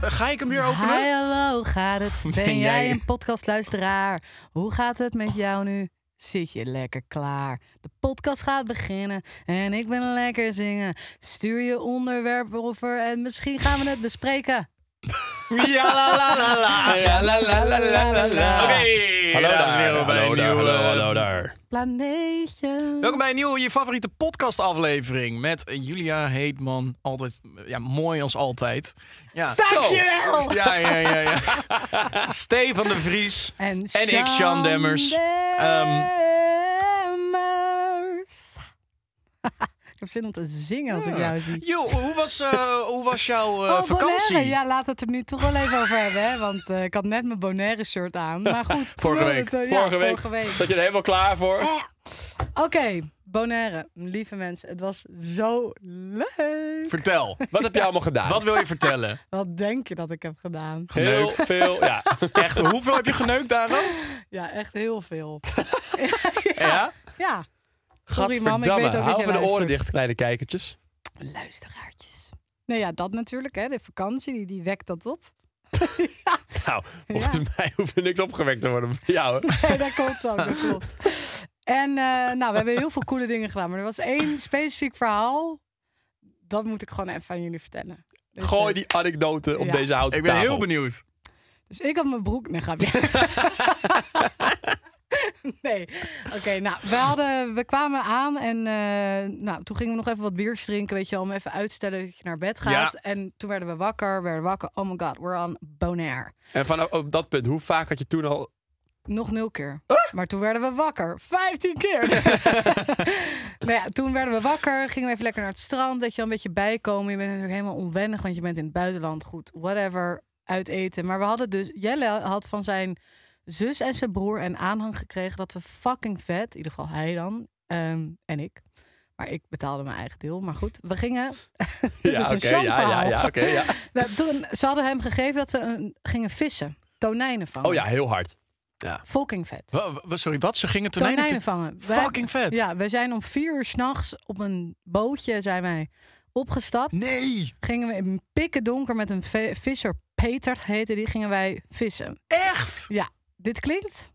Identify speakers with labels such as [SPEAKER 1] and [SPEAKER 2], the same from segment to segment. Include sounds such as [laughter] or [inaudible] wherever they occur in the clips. [SPEAKER 1] Ga ik hem weer openen?
[SPEAKER 2] Hi, hallo, gaat het? Ben,
[SPEAKER 1] [laughs] Ben
[SPEAKER 2] jij,
[SPEAKER 1] jij-
[SPEAKER 2] een podcastluisteraar? Hoe gaat het met jou nu? Zit je lekker klaar? De podcast gaat beginnen en ik ben lekker zingen. Stuur je onderwerp over en misschien gaan we het bespreken.
[SPEAKER 1] Ja, la la la la. Oké,
[SPEAKER 3] Hallo
[SPEAKER 1] dames
[SPEAKER 3] daar.
[SPEAKER 1] en heren, bij
[SPEAKER 3] Hallo daar.
[SPEAKER 1] een nieuwe-
[SPEAKER 3] Hallo, hallo daar.
[SPEAKER 2] Planeetje.
[SPEAKER 1] Welkom bij een nieuwe je favoriete podcastaflevering met Julia Heetman. Altijd ja, mooi als altijd. Ja.
[SPEAKER 2] Dankjewel.
[SPEAKER 1] Ja, ja, ja, ja. [laughs] Stefan de Vries
[SPEAKER 2] En,
[SPEAKER 1] ik, Sean Demmers. Ehm,
[SPEAKER 2] Demmers. [laughs] ik heb zin om te zingen als ik jou zie.
[SPEAKER 1] Joh, hoe was, eh, hoe was jouw eh,
[SPEAKER 2] Oh,
[SPEAKER 1] vakantie?
[SPEAKER 2] Bonaire. Ja, laat het er nu toch wel even over hebben. Hè? Want eh, ik had net mijn Bonaire shirt aan. Maar goed, toen
[SPEAKER 1] Vorige
[SPEAKER 2] wilde
[SPEAKER 1] week.
[SPEAKER 2] het, eh, ja,
[SPEAKER 3] Vorige week.
[SPEAKER 2] vorige week.
[SPEAKER 3] Zat je er helemaal klaar voor?
[SPEAKER 2] Oké, Bonaire. Lieve mensen, het was zo leuk.
[SPEAKER 1] Vertel,
[SPEAKER 3] Wat heb je allemaal gedaan?
[SPEAKER 1] wat wil je vertellen?
[SPEAKER 2] Wat denk je dat ik heb gedaan?
[SPEAKER 3] Heel
[SPEAKER 1] Geneukt.
[SPEAKER 3] veel. Ja.
[SPEAKER 1] Echt, hoeveel heb je geneukt daarom?
[SPEAKER 2] Ja, echt heel
[SPEAKER 3] [laughs]
[SPEAKER 2] veel.
[SPEAKER 1] Ja?
[SPEAKER 2] Ja. Sorry mam, ik weet
[SPEAKER 3] Gadverdamme. Hou
[SPEAKER 2] ook dat je
[SPEAKER 3] even de oren
[SPEAKER 2] luistert.
[SPEAKER 3] dicht, kleine kijkertjes.
[SPEAKER 2] Luisteraartjes. Nou ja, dat natuurlijk. Hè. De vakantie, die, die wekt dat op.
[SPEAKER 3] Nou, volgens mij hoeft er niks opgewekt te worden voor jou. hè?
[SPEAKER 2] Nee, dat klopt ook, dat klopt. En eh, nou, we hebben heel veel coole dingen gedaan. Maar er was één specifiek verhaal. Dat moet ik gewoon even aan jullie vertellen. Dus,
[SPEAKER 3] Gooi
[SPEAKER 2] eh,
[SPEAKER 3] die anekdote op
[SPEAKER 2] Ja.
[SPEAKER 3] deze houten
[SPEAKER 1] Ik ben
[SPEAKER 3] tafel.
[SPEAKER 1] heel benieuwd.
[SPEAKER 2] Dus ik had mijn broek... Nee, grapje. [laughs] nee. Oké, nou, we, hadden, we kwamen aan en eh, nou, toen gingen we nog even wat biertjes drinken, weet je wel, om even uitstellen dat je naar bed gaat.
[SPEAKER 1] Ja.
[SPEAKER 2] En toen werden we wakker, werden wakker. Oh my god, we're on Bonaire.
[SPEAKER 3] En vanaf op dat punt, hoe vaak had je toen al...
[SPEAKER 2] Nog nul keer. Maar toen werden we wakker. Vijftien
[SPEAKER 3] [laughs]
[SPEAKER 2] keer. nou ja, toen werden we wakker. Gingen we even lekker naar het strand. Dat je wel een beetje bijkomen. Je bent natuurlijk helemaal onwennig, want je bent in het buitenland. Goed, whatever. Uit eten. Maar we hadden dus... Jelle had van zijn zus en zijn broer een aanhang gekregen... dat we fucking vet, in ieder geval hij dan, ehm, en ik... Maar ik betaalde mijn eigen deel. Maar goed, we gingen. [laughs] Dit is
[SPEAKER 3] ja,
[SPEAKER 2] een
[SPEAKER 3] oké, ja, ja,
[SPEAKER 2] Sean-verhaal.
[SPEAKER 3] ja, oké, ja.
[SPEAKER 2] [laughs] Nou, toen, ze hadden hem gegeven dat ze een- gingen vissen. Tonijnen van.
[SPEAKER 3] Oh ja, heel hard. Ja.
[SPEAKER 2] Fucking vet.
[SPEAKER 1] Wa- wa- Sorry, wat? Ze gingen tonijnen,
[SPEAKER 2] tonijnen vangen. Wij-
[SPEAKER 1] Fucking vet.
[SPEAKER 2] Ja, we zijn om vier uur s'nachts op een bootje, zijn wij, opgestapt.
[SPEAKER 1] Nee,
[SPEAKER 2] Gingen we in pikken donker met een ve- visser, Peter heette die, gingen wij vissen.
[SPEAKER 1] echt?
[SPEAKER 2] Ja, dit klinkt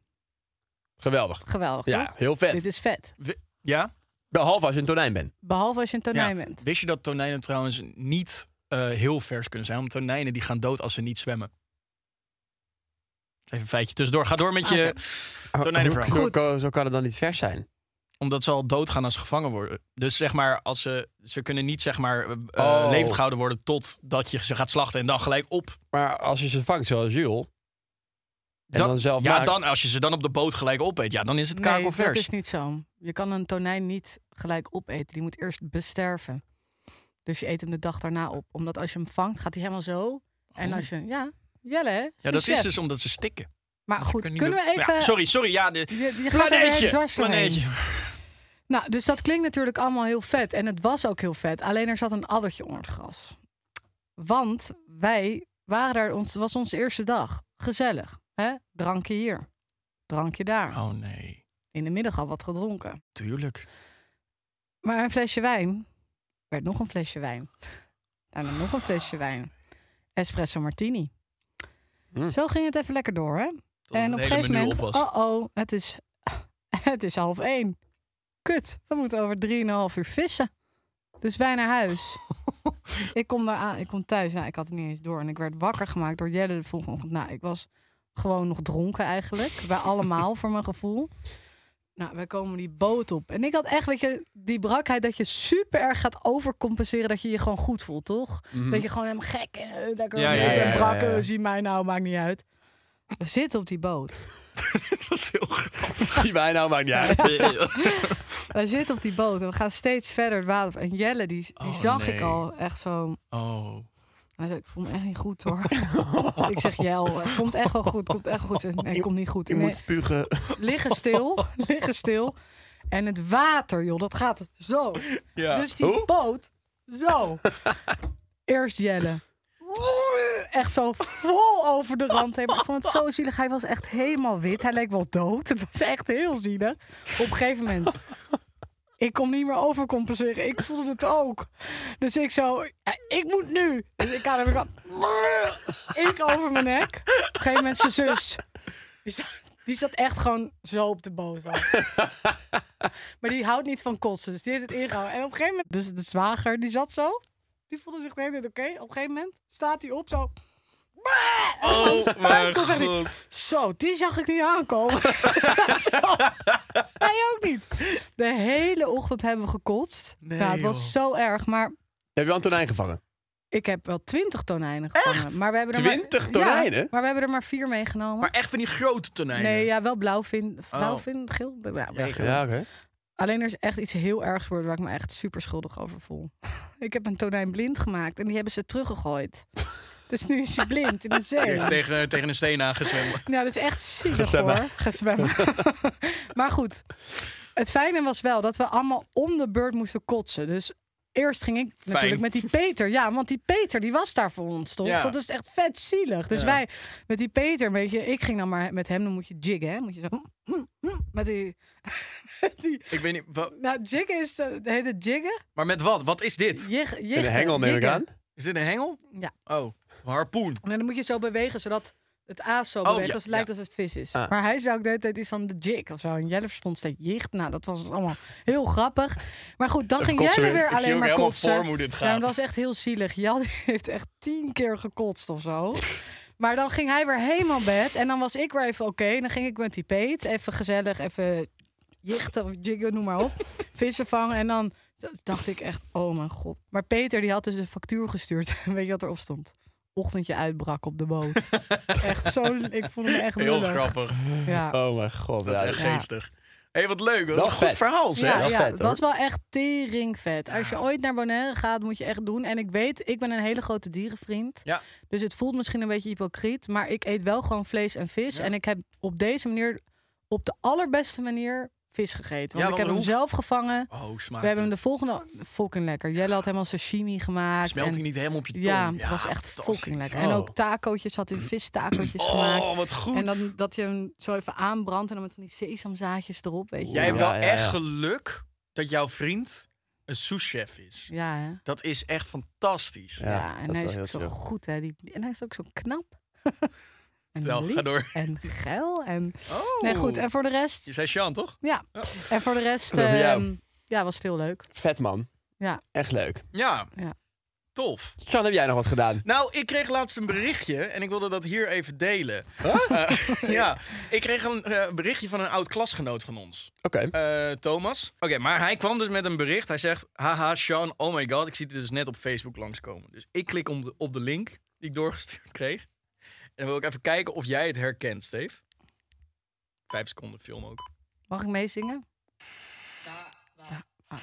[SPEAKER 3] Geweldig.
[SPEAKER 2] geweldig,
[SPEAKER 3] Ja,
[SPEAKER 2] toch?
[SPEAKER 3] heel vet.
[SPEAKER 2] Dit is vet.
[SPEAKER 1] We- Ja?
[SPEAKER 3] Behalve als je een tonijn bent.
[SPEAKER 2] Behalve als je een tonijn
[SPEAKER 1] Ja.
[SPEAKER 2] bent.
[SPEAKER 1] Wist je dat tonijnen trouwens niet eh, heel vers kunnen zijn? Want tonijnen die gaan dood als ze niet zwemmen. Even een feitje tussendoor. Ga door met je... Tonijnenverhaal.
[SPEAKER 3] Oh, Hoe- hoe-
[SPEAKER 2] Goed.
[SPEAKER 3] hoe- Zo kan het dan niet vers zijn.
[SPEAKER 1] Omdat ze al doodgaan als ze gevangen worden. Dus zeg maar, als ze, ze kunnen niet zeg maar, eh,
[SPEAKER 3] Oh.
[SPEAKER 1] levend gehouden worden totdat je ze gaat slachten en dan gelijk op.
[SPEAKER 3] Maar als je ze vangt, zoals Jules... En
[SPEAKER 1] Dat-
[SPEAKER 3] dan zelf
[SPEAKER 1] ja,
[SPEAKER 3] maken-
[SPEAKER 1] dan, als je ze dan op de boot gelijk opeet, ja, dan is het
[SPEAKER 2] nee,
[SPEAKER 1] kakelvers.
[SPEAKER 2] dat is niet zo. Je kan een tonijn niet gelijk opeten. Die moet eerst besterven. Dus je eet hem de dag daarna op. Omdat als je hem vangt, gaat hij helemaal zo. En
[SPEAKER 1] Oh.
[SPEAKER 2] als je... Ja, Jelle, hè?
[SPEAKER 1] Ja, dat
[SPEAKER 2] Chef.
[SPEAKER 1] is dus omdat ze stikken.
[SPEAKER 2] Maar
[SPEAKER 1] Ze
[SPEAKER 2] Ah, goed,
[SPEAKER 1] niet
[SPEAKER 2] kunnen we
[SPEAKER 1] meer-
[SPEAKER 2] even...
[SPEAKER 1] Ja, sorry, sorry. Ja, de...
[SPEAKER 2] Je, je gaat er weer
[SPEAKER 1] Planeetje,
[SPEAKER 2] dwars doorheen.
[SPEAKER 1] planeetje.
[SPEAKER 2] Nou, dus dat klinkt natuurlijk allemaal heel vet. En het was ook heel vet. Alleen er zat een addertje onder het gras. Want wij waren daar... Ons, was onze eerste dag. Gezellig. Hè? Drankje hier. Drankje daar.
[SPEAKER 1] Oh nee,
[SPEAKER 2] In de middag al wat gedronken.
[SPEAKER 1] tuurlijk.
[SPEAKER 2] Maar een flesje wijn... werd nog een flesje wijn. [laughs] En dan nog een flesje wijn. Espresso martini. Zo ging het even lekker door, hè?
[SPEAKER 1] Dat is
[SPEAKER 2] en
[SPEAKER 1] Hm. het
[SPEAKER 2] op een
[SPEAKER 1] hele
[SPEAKER 2] gegeven
[SPEAKER 1] menu
[SPEAKER 2] moment,
[SPEAKER 1] op was.
[SPEAKER 2] oh oh, het is, [laughs] het is half één. Kut, we moeten over 3,5 uur vissen. Dus wij naar huis. [laughs] ik, kom daar aan, ik kom thuis, nou, ik had het niet eens door. En ik werd wakker gemaakt door Jelle de volgende ochtend. Nou, ik was gewoon nog dronken eigenlijk.
[SPEAKER 1] [laughs]
[SPEAKER 2] Bij allemaal, voor mijn gevoel. Nou, wij komen die boot op. En ik had echt, weet je, die brakheid dat je super erg gaat overcompenseren. Dat je je gewoon goed voelt, toch? Dat je gewoon helemaal gek, eh, lekker,
[SPEAKER 1] Mhm. Ja,
[SPEAKER 2] ja,
[SPEAKER 1] ja,
[SPEAKER 2] ik
[SPEAKER 1] ja,
[SPEAKER 2] ben
[SPEAKER 1] ja,
[SPEAKER 2] brak,
[SPEAKER 3] ja.
[SPEAKER 2] eh, zie mij nou, maakt niet uit. We zitten op die boot.
[SPEAKER 1] Dat is heel grappig.
[SPEAKER 3] [laughs] Die wij nou maakt niet uit.
[SPEAKER 2] [laughs] We zitten op die boot en we gaan steeds verder het water op. En Jelle, die, die
[SPEAKER 1] Oh,
[SPEAKER 2] zag
[SPEAKER 1] nee.
[SPEAKER 2] ik al echt zo...
[SPEAKER 1] Oh.
[SPEAKER 2] Hij zei, ik voel me echt niet goed, hoor. ik zeg, Jel, het komt echt wel goed, komt echt wel goed. Ze zei, Nee, komt niet goed.
[SPEAKER 3] Je
[SPEAKER 2] Nee,
[SPEAKER 3] moet spugen.
[SPEAKER 2] Liggen stil, liggen stil. En het water, joh, dat gaat zo. Dus die
[SPEAKER 3] Hoe?
[SPEAKER 2] boot, zo. Eerst Jelle. Echt zo vol over de rand heen. Maar ik vond het zo zielig. Hij was echt helemaal wit. Hij leek wel dood. Het was echt heel zielig. Op een gegeven moment... Ik kon niet meer overcompenseren. Ik voelde het ook. Dus ik zo... "Eh, Ik moet nu. Dus ik had hem... Ik over mijn nek. Op een gegeven moment zijn zus. Die zat, die zat echt gewoon zo op de boot. zo. Maar die houdt niet van kotsen, dus die heeft het ingehouden. En op een gegeven moment, dus de zwager, die zat zo. Die voelde zich de hele tijd oké. Op een gegeven moment staat hij op zo.
[SPEAKER 1] Oh,
[SPEAKER 2] mijn God. Zo, die zag ik niet aankomen. [laughs] Zo. Hij ook niet. De hele ochtend hebben we gekotst.
[SPEAKER 1] Nee,
[SPEAKER 2] nou, het was zo erg, maar
[SPEAKER 3] Heb je Antonijn gevangen?
[SPEAKER 2] ik heb wel twintig tonijnen gevangen. Maar we hebben er
[SPEAKER 3] 20
[SPEAKER 2] maar,
[SPEAKER 3] tonijnen?
[SPEAKER 2] Ja, maar we hebben er maar vier meegenomen.
[SPEAKER 1] [laughs] Maar echt van die grote tonijnen.
[SPEAKER 2] nee, ja, wel blauwvin, blauwvin geel. Oh. Ja,
[SPEAKER 1] Ja,
[SPEAKER 3] Ja, oké.
[SPEAKER 2] Alleen er is echt iets heel ergs gebeurd waar ik me echt super schuldig over voel. [laughs] ik heb een tonijn blind gemaakt en die hebben ze teruggegooid. [laughs] dus nu is hij blind in de zee.
[SPEAKER 1] Eerst Tegen, tegen een steen aangezwemmen.
[SPEAKER 2] [laughs] Nou, dat is echt zielig
[SPEAKER 3] zwemmen.
[SPEAKER 2] hoor. Gaat
[SPEAKER 3] [laughs]
[SPEAKER 2] zwemmen. maar goed, het fijne was wel dat we allemaal om de beurt moesten kotsen. Dus eerst ging ik natuurlijk met die Peter. Ja, want die Peter die was daar voor ons toch?
[SPEAKER 1] Ja.
[SPEAKER 2] Dat is echt vet zielig. Dus wij met die Peter, weet je, ik ging dan maar met hem, dan moet je jiggen, hè? Moet je zo. mm, Met die. [laughs] met die
[SPEAKER 1] Ik weet niet, wa-
[SPEAKER 2] nou, jiggen is de, de hele jiggen.
[SPEAKER 1] maar met wat? Wat is dit?
[SPEAKER 2] Jig,
[SPEAKER 3] In de
[SPEAKER 2] jichten,
[SPEAKER 3] hengel neem ik
[SPEAKER 2] jiggen.
[SPEAKER 3] aan.
[SPEAKER 1] Is dit een hengel?
[SPEAKER 2] Ja.
[SPEAKER 1] Oh, een harpoen.
[SPEAKER 2] En dan moet je zo bewegen, zodat het aas zo
[SPEAKER 1] Oh,
[SPEAKER 2] beweegt.
[SPEAKER 1] ja,
[SPEAKER 2] als het lijkt
[SPEAKER 1] ja.
[SPEAKER 2] alsof het vis is.
[SPEAKER 3] Ah.
[SPEAKER 2] Maar hij zei ook de hele tijd iets van de jig of zo. En Jelle verstond steeds jicht. Nou, dat was allemaal heel grappig. Maar goed, dan ging
[SPEAKER 3] kotsen
[SPEAKER 2] Jelle
[SPEAKER 3] weer.
[SPEAKER 2] weer
[SPEAKER 3] Ik zie
[SPEAKER 2] alleen
[SPEAKER 3] ook
[SPEAKER 2] maar
[SPEAKER 3] helemaal
[SPEAKER 2] kotsen.
[SPEAKER 3] voor me hoe dit
[SPEAKER 2] Ja,
[SPEAKER 3] gaat.
[SPEAKER 2] dat was echt heel zielig. Jelle [laughs] heeft echt tien keer gekotst of zo. Maar dan ging hij weer helemaal bed. En dan was ik weer even oké. En Dan ging ik met die Peet even gezellig, even jichten of jiggen, noem maar op. Vissen vangen. En dan dacht ik echt, oh mijn god. Maar Peter die had dus een factuur gestuurd. [laughs] Weet je wat erop stond? Ochtendje uitbrak op de
[SPEAKER 1] [laughs]
[SPEAKER 2] boot. echt zo, ik voelde me echt
[SPEAKER 1] Heel
[SPEAKER 2] lullig.
[SPEAKER 1] grappig.
[SPEAKER 2] Ja.
[SPEAKER 3] Oh mijn god.
[SPEAKER 1] Dat is
[SPEAKER 3] ja.
[SPEAKER 1] echt geestig. Hé, hey, wat leuk. Wat
[SPEAKER 3] Wel
[SPEAKER 1] een goed
[SPEAKER 3] vet.
[SPEAKER 1] verhaal, zeg.
[SPEAKER 2] Ja,
[SPEAKER 3] Wel
[SPEAKER 2] ja,
[SPEAKER 3] vet,
[SPEAKER 2] het
[SPEAKER 3] hoor.
[SPEAKER 2] was wel echt teringvet. Als je ooit naar Bonaire gaat, moet je echt doen. En ik weet, ik ben een hele grote dierenvriend.
[SPEAKER 1] Ja.
[SPEAKER 2] Dus het voelt misschien een beetje hypocriet. Maar ik eet wel gewoon vlees en vis. En ik heb op deze manier, op de allerbeste manier, vis gegeten.
[SPEAKER 1] Ja,
[SPEAKER 2] Want ik heb
[SPEAKER 1] want
[SPEAKER 2] hem
[SPEAKER 1] hoe-
[SPEAKER 2] zelf gevangen.
[SPEAKER 1] Oh, smaakt
[SPEAKER 2] We hebben hem de
[SPEAKER 1] het.
[SPEAKER 2] volgende... Fucking lekker. Jelle had helemaal sashimi gemaakt.
[SPEAKER 1] Smelt
[SPEAKER 2] en-
[SPEAKER 1] hij niet helemaal op je tong?
[SPEAKER 2] Ja, het was echt
[SPEAKER 1] fantastisch. Mm.
[SPEAKER 2] fucking lekker. En ook tacootjes, had hij vistacootjes gemaakt.
[SPEAKER 1] Oh, wat goed.
[SPEAKER 2] En dan dat je hem zo even aanbrandt en dan met van die sesamzaadjes erop, weet je.
[SPEAKER 1] Jij hebt
[SPEAKER 3] Ja,
[SPEAKER 1] wel
[SPEAKER 3] ja,
[SPEAKER 1] echt
[SPEAKER 3] ja.
[SPEAKER 1] geluk dat jouw vriend een souschef is.
[SPEAKER 2] Ja, hè?
[SPEAKER 1] Dat is echt fantastisch.
[SPEAKER 3] Ja,
[SPEAKER 2] Ja,
[SPEAKER 3] dat
[SPEAKER 2] en
[SPEAKER 3] is
[SPEAKER 2] hij
[SPEAKER 3] wel
[SPEAKER 2] is
[SPEAKER 3] heel
[SPEAKER 2] ook zo
[SPEAKER 3] chill.
[SPEAKER 2] goed, hè? Die, en hij is ook zo knap. [laughs] en
[SPEAKER 1] Vertel,
[SPEAKER 2] lief
[SPEAKER 1] ga door.
[SPEAKER 2] En geil. En...
[SPEAKER 1] Oh.
[SPEAKER 2] Nee, goed. En voor de rest...
[SPEAKER 1] Je Oh. zei Sean, toch?
[SPEAKER 2] Ja. En voor de
[SPEAKER 1] [laughs]
[SPEAKER 2] rest...
[SPEAKER 3] Over jou.
[SPEAKER 2] ehm, ja, was het heel leuk.
[SPEAKER 3] Vet man.
[SPEAKER 2] Ja.
[SPEAKER 3] Echt leuk.
[SPEAKER 1] Ja.
[SPEAKER 2] Ja.
[SPEAKER 1] Tof.
[SPEAKER 3] Sean, heb jij nog wat gedaan?
[SPEAKER 1] Nou, ik kreeg laatst een berichtje en ik wilde dat hier even delen. Eh, [laughs] ja, ik kreeg een eh, berichtje van een oud klasgenoot van ons.
[SPEAKER 3] Oké.
[SPEAKER 1] Eh, Thomas. Oké, maar hij kwam dus met een bericht. Hij zegt: Haha, Sean, oh my god. Ik zie het dus net op Facebook langskomen. Dus ik klik om de- op de link die ik doorgestuurd [laughs] kreeg. En dan wil ik even kijken of jij het herkent, Steve. Vijf seconden film ook.
[SPEAKER 2] Mag ik meezingen? Ah.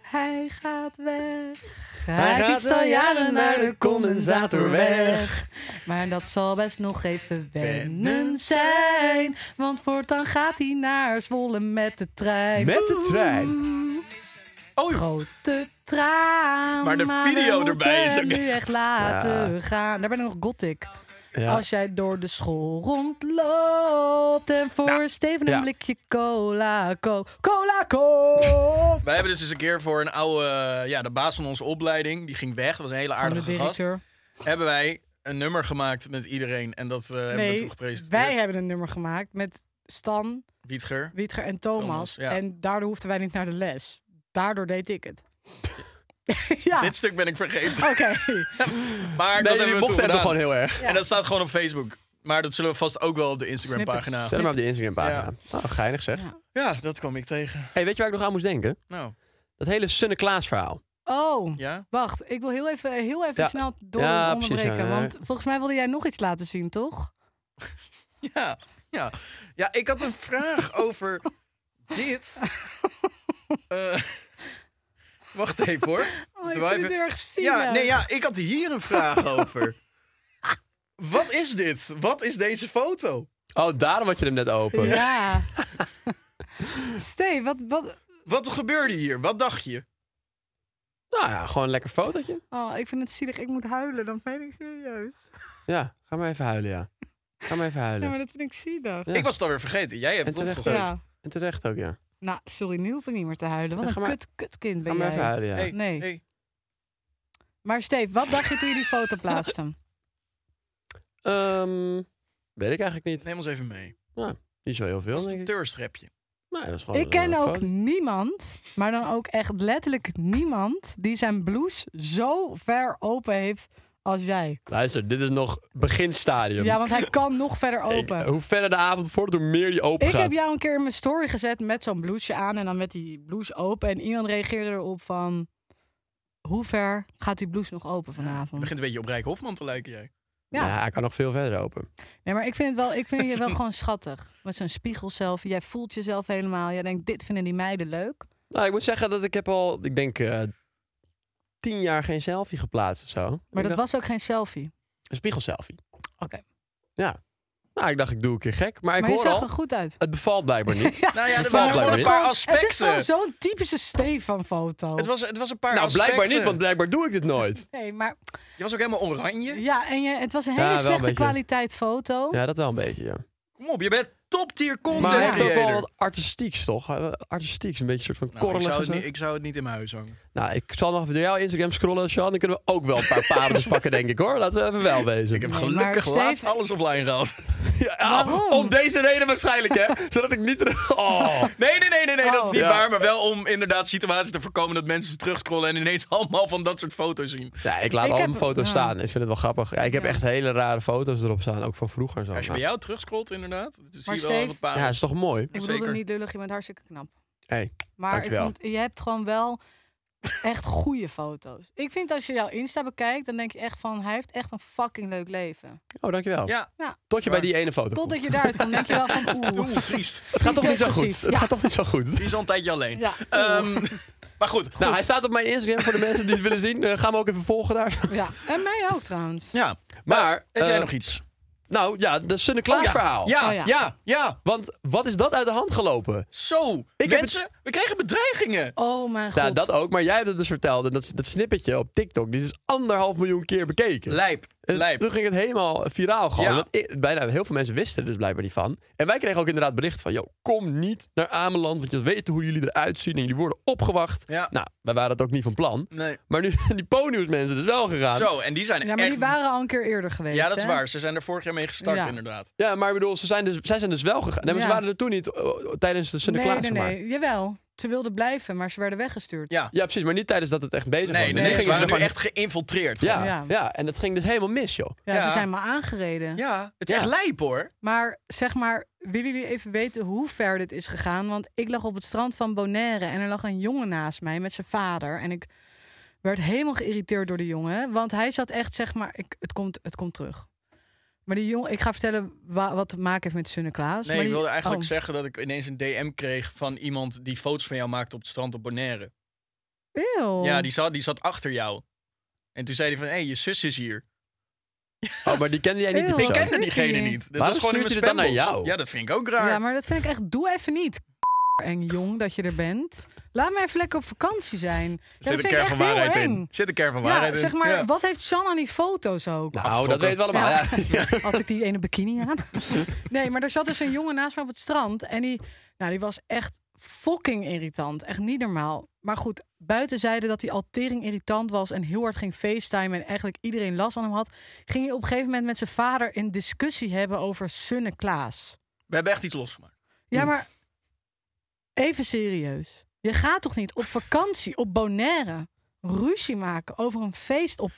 [SPEAKER 2] Hij gaat weg. Hij,
[SPEAKER 3] gaat
[SPEAKER 2] fietst
[SPEAKER 3] wel
[SPEAKER 2] al
[SPEAKER 3] jaren
[SPEAKER 2] jaren naar
[SPEAKER 3] naar
[SPEAKER 2] de
[SPEAKER 3] de
[SPEAKER 2] condensator
[SPEAKER 3] weg.
[SPEAKER 2] weg. Maar dat zal best nog even wennen zijn. Want voortaan gaat hij naar Zwolle met de trein.
[SPEAKER 3] Met de trein.
[SPEAKER 1] Oh, joh.
[SPEAKER 2] Grote traan.
[SPEAKER 1] Maar de video
[SPEAKER 2] we
[SPEAKER 1] erbij is
[SPEAKER 2] moeten
[SPEAKER 1] ook
[SPEAKER 2] nu
[SPEAKER 1] echt-
[SPEAKER 2] echt laten gaan. Daar ben ik nog gothic.
[SPEAKER 3] Ja.
[SPEAKER 2] Als jij door de school rondloopt en voor
[SPEAKER 1] Nou,
[SPEAKER 2] Steven een
[SPEAKER 3] ja.
[SPEAKER 2] blikje cola koopt. Cola koopt!
[SPEAKER 1] Wij hebben dus eens een keer voor een oude, eh, ja, de baas van onze opleiding, die ging weg, dat was een hele
[SPEAKER 2] Van de
[SPEAKER 1] aardige gast.
[SPEAKER 2] directeur.
[SPEAKER 1] Hebben wij een nummer gemaakt met iedereen en dat eh, hebben we
[SPEAKER 2] Nee,
[SPEAKER 1] toegepresenteerd.
[SPEAKER 2] wij hebben een nummer gemaakt met Stan,
[SPEAKER 1] Wietger.
[SPEAKER 2] Wietger en Thomas.
[SPEAKER 1] Thomas, ja.
[SPEAKER 2] En daardoor hoefden wij niet naar de les. Daardoor deed ik
[SPEAKER 1] [laughs]
[SPEAKER 2] het. ja,
[SPEAKER 1] Dit stuk ben ik vergeten.
[SPEAKER 2] oké.
[SPEAKER 1] Maar dat
[SPEAKER 3] Nee,
[SPEAKER 1] hebben
[SPEAKER 3] jullie
[SPEAKER 1] we
[SPEAKER 3] mochten
[SPEAKER 1] toen
[SPEAKER 3] het nog
[SPEAKER 1] gedaan.
[SPEAKER 3] gewoon heel erg.
[SPEAKER 1] En dat staat gewoon op Facebook. Maar dat zullen we vast ook wel op de Instagram pagina.
[SPEAKER 3] Zet hem maar op de Instagram pagina. Nou, geinig zeg.
[SPEAKER 1] Ja, dat kwam ik tegen.
[SPEAKER 3] Hey, weet je waar ik nog aan moest denken?
[SPEAKER 1] Nou,
[SPEAKER 3] Dat hele Sunne-Klaas verhaal.
[SPEAKER 2] Oh,
[SPEAKER 1] ja.
[SPEAKER 2] wacht. Ik wil heel even, heel even
[SPEAKER 3] Ja.
[SPEAKER 2] snel door
[SPEAKER 3] Ja, precies,
[SPEAKER 2] onderbreken.
[SPEAKER 3] ja, ja.
[SPEAKER 2] Want volgens mij wilde jij nog iets laten zien, toch?
[SPEAKER 1] Ja, ja. Ja, ik had een
[SPEAKER 2] [laughs]
[SPEAKER 1] vraag over dit. Eh, wacht even hoor.
[SPEAKER 2] Oh, ik
[SPEAKER 1] Doe
[SPEAKER 2] vind
[SPEAKER 1] even-
[SPEAKER 2] het heel erg zielig.
[SPEAKER 1] Ja, nee, ja, ik had hier een
[SPEAKER 2] [laughs]
[SPEAKER 1] vraag over. Wat is dit? Wat is deze foto?
[SPEAKER 3] Oh, daarom had je hem net open.
[SPEAKER 2] Ja. Steve, wat, wat...
[SPEAKER 1] Wat gebeurde hier? Wat dacht je?
[SPEAKER 3] [laughs] Nou ja, gewoon een lekker fotootje.
[SPEAKER 2] Oh, ik vind het zielig. Ik moet huilen. Dan ben ik serieus.
[SPEAKER 3] Ja, ga maar even huilen, ja. Ga maar even
[SPEAKER 2] Ja,
[SPEAKER 3] huilen.
[SPEAKER 2] maar dat vind ik zielig.
[SPEAKER 3] Ja.
[SPEAKER 1] Ik was het alweer vergeten. Jij hebt
[SPEAKER 3] En
[SPEAKER 1] het
[SPEAKER 3] terecht
[SPEAKER 1] opgegeven.
[SPEAKER 3] ook.
[SPEAKER 2] Ja.
[SPEAKER 3] En terecht ook, ja.
[SPEAKER 2] Nou, sorry, nu hoef ik niet meer te huilen. Wat
[SPEAKER 3] Ja,
[SPEAKER 2] een
[SPEAKER 3] ga maar-
[SPEAKER 2] kut, kutkind
[SPEAKER 3] Ga
[SPEAKER 2] ben
[SPEAKER 3] maar
[SPEAKER 2] jij.
[SPEAKER 3] even huilen, ja.
[SPEAKER 1] Hey,
[SPEAKER 2] Nee.
[SPEAKER 1] hey.
[SPEAKER 2] Maar Steve, wat dacht je toen je die
[SPEAKER 3] [laughs]
[SPEAKER 2] foto plaatste?
[SPEAKER 3] Ehm, weet ik eigenlijk niet. Nou,
[SPEAKER 1] Neem ons even mee.
[SPEAKER 3] Niet zo heel veel,
[SPEAKER 1] Dat is
[SPEAKER 3] denk
[SPEAKER 1] een
[SPEAKER 3] ik.
[SPEAKER 1] thirstrapje.
[SPEAKER 3] Nee, dat is gewoon
[SPEAKER 2] Ik
[SPEAKER 3] een,
[SPEAKER 2] ken
[SPEAKER 3] eh,
[SPEAKER 2] ook
[SPEAKER 3] foto.
[SPEAKER 2] niemand, maar dan ook echt letterlijk niemand... die zijn blouse zo ver open heeft als jij.
[SPEAKER 3] Luister, dit is nog beginstadium.
[SPEAKER 2] Ja, want hij kan
[SPEAKER 3] [laughs]
[SPEAKER 2] nog verder
[SPEAKER 3] Ik-
[SPEAKER 2] open.
[SPEAKER 3] hoe verder de avond vordert, hoe meer die open
[SPEAKER 2] Ik
[SPEAKER 3] gaat.
[SPEAKER 2] heb jou een keer in mijn story gezet met zo'n blouseje aan... en dan met die blouse open. En iemand reageerde erop van... hoe ver gaat die blouse nog open
[SPEAKER 1] Het
[SPEAKER 2] vanavond?
[SPEAKER 1] begint een beetje op Rijk Hofman te lijken, jij.
[SPEAKER 3] ja.
[SPEAKER 2] Ja.
[SPEAKER 3] hij kan nog veel verder open.
[SPEAKER 2] Nee, maar ik vind het wel, ik vind je
[SPEAKER 3] [laughs]
[SPEAKER 2] wel gewoon schattig. Met zo'n spiegelselfie. Jij voelt jezelf helemaal. Jij denkt, dit vinden die meiden leuk.
[SPEAKER 3] Nou, ik moet zeggen dat ik heb al, ik denk, eh, tien jaar geen selfie geplaatst of zo.
[SPEAKER 2] Maar
[SPEAKER 3] Ik dacht,
[SPEAKER 2] dat was ook geen selfie.
[SPEAKER 3] Een spiegelselfie.
[SPEAKER 2] Oké.
[SPEAKER 3] Ja. Nou, ik dacht, ik doe een keer gek. Maar ik
[SPEAKER 2] Maar je
[SPEAKER 3] hoor
[SPEAKER 2] zag
[SPEAKER 3] al,
[SPEAKER 2] er goed uit.
[SPEAKER 3] het bevalt blijkbaar
[SPEAKER 2] [laughs]
[SPEAKER 3] niet.
[SPEAKER 1] Nou ja, er
[SPEAKER 3] Valt
[SPEAKER 1] waren
[SPEAKER 3] blijkbaar
[SPEAKER 1] een
[SPEAKER 3] niet.
[SPEAKER 1] paar
[SPEAKER 2] Het is
[SPEAKER 1] aspecten.
[SPEAKER 2] gewoon zo'n typische Stefan-foto.
[SPEAKER 1] Het was, het was een paar
[SPEAKER 3] nou,
[SPEAKER 1] aspecten.
[SPEAKER 3] blijkbaar niet, want blijkbaar doe ik dit nooit.
[SPEAKER 2] Nee, maar...
[SPEAKER 1] Je was ook helemaal oranje.
[SPEAKER 2] Ja, en je, het was een
[SPEAKER 3] Ja,
[SPEAKER 2] hele
[SPEAKER 3] wel een
[SPEAKER 2] slechte
[SPEAKER 3] beetje.
[SPEAKER 2] kwaliteit foto.
[SPEAKER 3] Ja, dat wel een beetje, ja.
[SPEAKER 1] Kom op, je bent top tier
[SPEAKER 3] Maar hij
[SPEAKER 1] content
[SPEAKER 3] heeft ook wel
[SPEAKER 1] creator.
[SPEAKER 3] wat artistieks, toch? Eh, Artistieks, een beetje een soort van
[SPEAKER 1] Nou, ik,
[SPEAKER 3] korrelig
[SPEAKER 1] zou
[SPEAKER 3] en
[SPEAKER 1] het
[SPEAKER 3] zo.
[SPEAKER 1] niet, ik zou het niet in mijn huis hangen.
[SPEAKER 3] Nou, ik zal nog even door jouw Instagram scrollen, Sean. Dan kunnen we ook wel een
[SPEAKER 1] [laughs]
[SPEAKER 3] paar pareltjes pakken, denk ik, hoor. Laten we even wel wezen.
[SPEAKER 1] Ik heb
[SPEAKER 2] Nee,
[SPEAKER 1] gelukkig
[SPEAKER 2] maar
[SPEAKER 1] laatst
[SPEAKER 2] Steven-
[SPEAKER 1] alles offline gehad.
[SPEAKER 3] Ja,
[SPEAKER 2] Waarom?
[SPEAKER 3] om deze reden waarschijnlijk,
[SPEAKER 2] [laughs]
[SPEAKER 3] hè? Zodat ik niet terug... Oh.
[SPEAKER 1] Nee, nee, nee, nee, nee dat
[SPEAKER 2] Oh.
[SPEAKER 1] is niet
[SPEAKER 3] Ja.
[SPEAKER 1] waar. Maar wel om inderdaad situaties te voorkomen dat mensen terugscrollen en ineens [laughs] allemaal van dat soort foto's zien.
[SPEAKER 3] Ja, ik laat
[SPEAKER 2] Ik
[SPEAKER 3] al
[SPEAKER 2] heb-
[SPEAKER 3] mijn foto's
[SPEAKER 2] ja.
[SPEAKER 3] staan. Ik vind het wel grappig. Ja, ik heb
[SPEAKER 2] Ja.
[SPEAKER 3] echt hele rare foto's erop staan, ook van vroeger. en Zo.
[SPEAKER 1] Als je bij jou terugscrolt inderdaad, dan zie
[SPEAKER 2] Maar
[SPEAKER 1] je wel
[SPEAKER 2] Steve-
[SPEAKER 1] wat parels.
[SPEAKER 3] Ja, is toch mooi?
[SPEAKER 2] Ik bedoel
[SPEAKER 1] Zeker.
[SPEAKER 2] het niet lullig, je bent hartstikke knap.
[SPEAKER 3] Hey,
[SPEAKER 2] Maar ik
[SPEAKER 3] Dankjewel.
[SPEAKER 2] vond, je hebt gewoon wel echt goede foto's. Ik vind als je jouw Insta bekijkt, dan denk je echt van... hij heeft echt een fucking leuk leven.
[SPEAKER 3] oh, dankjewel.
[SPEAKER 1] Ja,
[SPEAKER 2] Ja,
[SPEAKER 3] Tot je bij die ene foto komt.
[SPEAKER 2] totdat je daaruit komt, denk je wel
[SPEAKER 3] [laughs]
[SPEAKER 2] van... oeh,
[SPEAKER 1] oeh, triest.
[SPEAKER 3] Het gaat toch niet zo
[SPEAKER 2] Precies,
[SPEAKER 3] goed? Het
[SPEAKER 2] ja.
[SPEAKER 3] gaat toch niet zo goed?
[SPEAKER 1] Die is al een tijdje alleen.
[SPEAKER 2] Ja.
[SPEAKER 1] Ehm, maar goed.
[SPEAKER 3] Nou, hij staat op mijn Instagram voor de mensen die het willen zien. Eh, ga hem ook even volgen daar.
[SPEAKER 2] Ja, en mij ook trouwens.
[SPEAKER 1] Ja.
[SPEAKER 3] Maar,
[SPEAKER 1] heb jij
[SPEAKER 3] eh,
[SPEAKER 1] nog iets?
[SPEAKER 3] Nou ja, de Sunne Klaas verhaal.
[SPEAKER 1] Ja,
[SPEAKER 2] Oh,
[SPEAKER 1] ja,
[SPEAKER 2] ja.
[SPEAKER 1] ja,
[SPEAKER 3] Want wat is dat uit de hand gelopen?
[SPEAKER 1] Zo,
[SPEAKER 3] heb
[SPEAKER 1] mensen, we kregen bedreigingen.
[SPEAKER 2] Oh mijn god.
[SPEAKER 3] Nou, dat ook. Maar jij hebt het dus verteld. En dat, dat snippetje op TikTok, die is dus anderhalf miljoen keer bekeken.
[SPEAKER 1] Lijp,
[SPEAKER 3] En
[SPEAKER 1] lijp.
[SPEAKER 3] Toen ging het helemaal viraal gewoon.
[SPEAKER 1] Ja.
[SPEAKER 3] Want ik- bijna heel veel mensen wisten er dus blijkbaar niet van. En wij kregen ook inderdaad bericht van... Yo, kom niet naar Ameland, want je weet hoe jullie eruit zien... en jullie worden opgewacht.
[SPEAKER 1] Ja.
[SPEAKER 3] Nou, wij waren het ook niet van plan.
[SPEAKER 1] Nee.
[SPEAKER 3] Maar nu [laughs] zijn die ponyhoes mensen dus wel gegaan.
[SPEAKER 1] Zo, en die zijn
[SPEAKER 2] Ja, maar
[SPEAKER 1] echt...
[SPEAKER 2] die waren al een keer eerder geweest.
[SPEAKER 1] ja, dat is
[SPEAKER 2] hè?
[SPEAKER 1] waar. Ze zijn er vorig jaar mee gestart,
[SPEAKER 2] Ja.
[SPEAKER 1] inderdaad.
[SPEAKER 3] Ja, maar ik bedoel, ze zijn dus, zij zijn dus wel gegaan. Nee, maar ze
[SPEAKER 2] Ja.
[SPEAKER 3] waren er toen niet eh, tijdens de
[SPEAKER 2] Nee,
[SPEAKER 3] Sinterklaas.
[SPEAKER 2] nee,
[SPEAKER 3] zeg maar.
[SPEAKER 2] nee. Jawel. Ze wilden blijven, maar ze werden weggestuurd.
[SPEAKER 1] Ja.
[SPEAKER 3] Ja, precies. Maar niet tijdens dat het echt bezig
[SPEAKER 1] Nee,
[SPEAKER 3] was.
[SPEAKER 1] nee,
[SPEAKER 3] Nu
[SPEAKER 1] nee, ze
[SPEAKER 3] gingen
[SPEAKER 1] waren nu
[SPEAKER 3] gewoon-
[SPEAKER 1] echt geïnfiltreerd.
[SPEAKER 3] Ja,
[SPEAKER 1] gewoon.
[SPEAKER 3] ja.
[SPEAKER 2] Ja.
[SPEAKER 3] en dat ging dus helemaal mis, joh.
[SPEAKER 2] Ja,
[SPEAKER 1] Ja.
[SPEAKER 2] ze zijn maar aangereden.
[SPEAKER 1] ja. Het is
[SPEAKER 3] Ja.
[SPEAKER 1] echt lijp, hoor.
[SPEAKER 2] Maar zeg maar, willen jullie even weten hoe ver dit is gegaan? Want ik lag op het strand van Bonaire en er lag een jongen naast mij met zijn vader. En ik werd helemaal geïrriteerd door de jongen. Want hij zat echt, zeg maar, ik, het, komt, het komt terug. Maar die jongen, ik ga vertellen wa- wat te maken heeft met Sunneklaas.
[SPEAKER 1] Nee,
[SPEAKER 2] maar
[SPEAKER 1] ik
[SPEAKER 2] die-
[SPEAKER 1] wilde eigenlijk
[SPEAKER 2] oh.
[SPEAKER 1] zeggen dat ik ineens een DM kreeg van iemand die foto's van jou maakte op het strand op Bonaire.
[SPEAKER 2] Eeuw.
[SPEAKER 1] Ja, die zat, die zat achter jou. En toen zei hij van, hé, hey, je zus is hier.
[SPEAKER 3] Oh, maar die kende jij niet, die
[SPEAKER 2] Eeuw.
[SPEAKER 1] Ik
[SPEAKER 3] persoon?
[SPEAKER 1] kende diegene
[SPEAKER 2] creepy.
[SPEAKER 1] niet. Dat
[SPEAKER 3] Waarom
[SPEAKER 1] was gewoon in
[SPEAKER 3] stuurt
[SPEAKER 1] mijn
[SPEAKER 3] hij dit dan naar
[SPEAKER 1] spambox.
[SPEAKER 3] jou?
[SPEAKER 1] Ja, dat vind ik ook raar.
[SPEAKER 2] Ja, maar dat vind ik echt, doe even niet. [laughs] eng jong dat je er bent. Laat mij even lekker op vakantie zijn. Ja, dat
[SPEAKER 1] Zit
[SPEAKER 2] vind
[SPEAKER 1] een
[SPEAKER 2] ik
[SPEAKER 1] kern
[SPEAKER 2] echt
[SPEAKER 1] van
[SPEAKER 2] heel
[SPEAKER 1] waarheid
[SPEAKER 2] eng.
[SPEAKER 1] in. Zit een kern van
[SPEAKER 2] Ja,
[SPEAKER 1] waarheid in.
[SPEAKER 2] zeg maar,
[SPEAKER 1] Ja.
[SPEAKER 2] wat heeft Sean aan die foto's ook?
[SPEAKER 3] Nou, dat weten we allemaal. Ja. [laughs]
[SPEAKER 2] Ja. Had ik die ene bikini aan? [laughs] Nee, maar er zat dus een jongen naast me op het strand. En die, nou, die was echt fucking irritant. Echt niet normaal. Maar goed, buiten zeiden dat hij al tering irritant was... en heel hard ging facetimen en eigenlijk iedereen last aan hem had... ging hij op een gegeven moment met zijn vader een discussie hebben over Sunne Klaas.
[SPEAKER 1] We hebben echt iets losgemaakt.
[SPEAKER 2] Ja, maar even serieus. Je gaat toch niet op vakantie, op Bonaire... ruzie maken over een feest op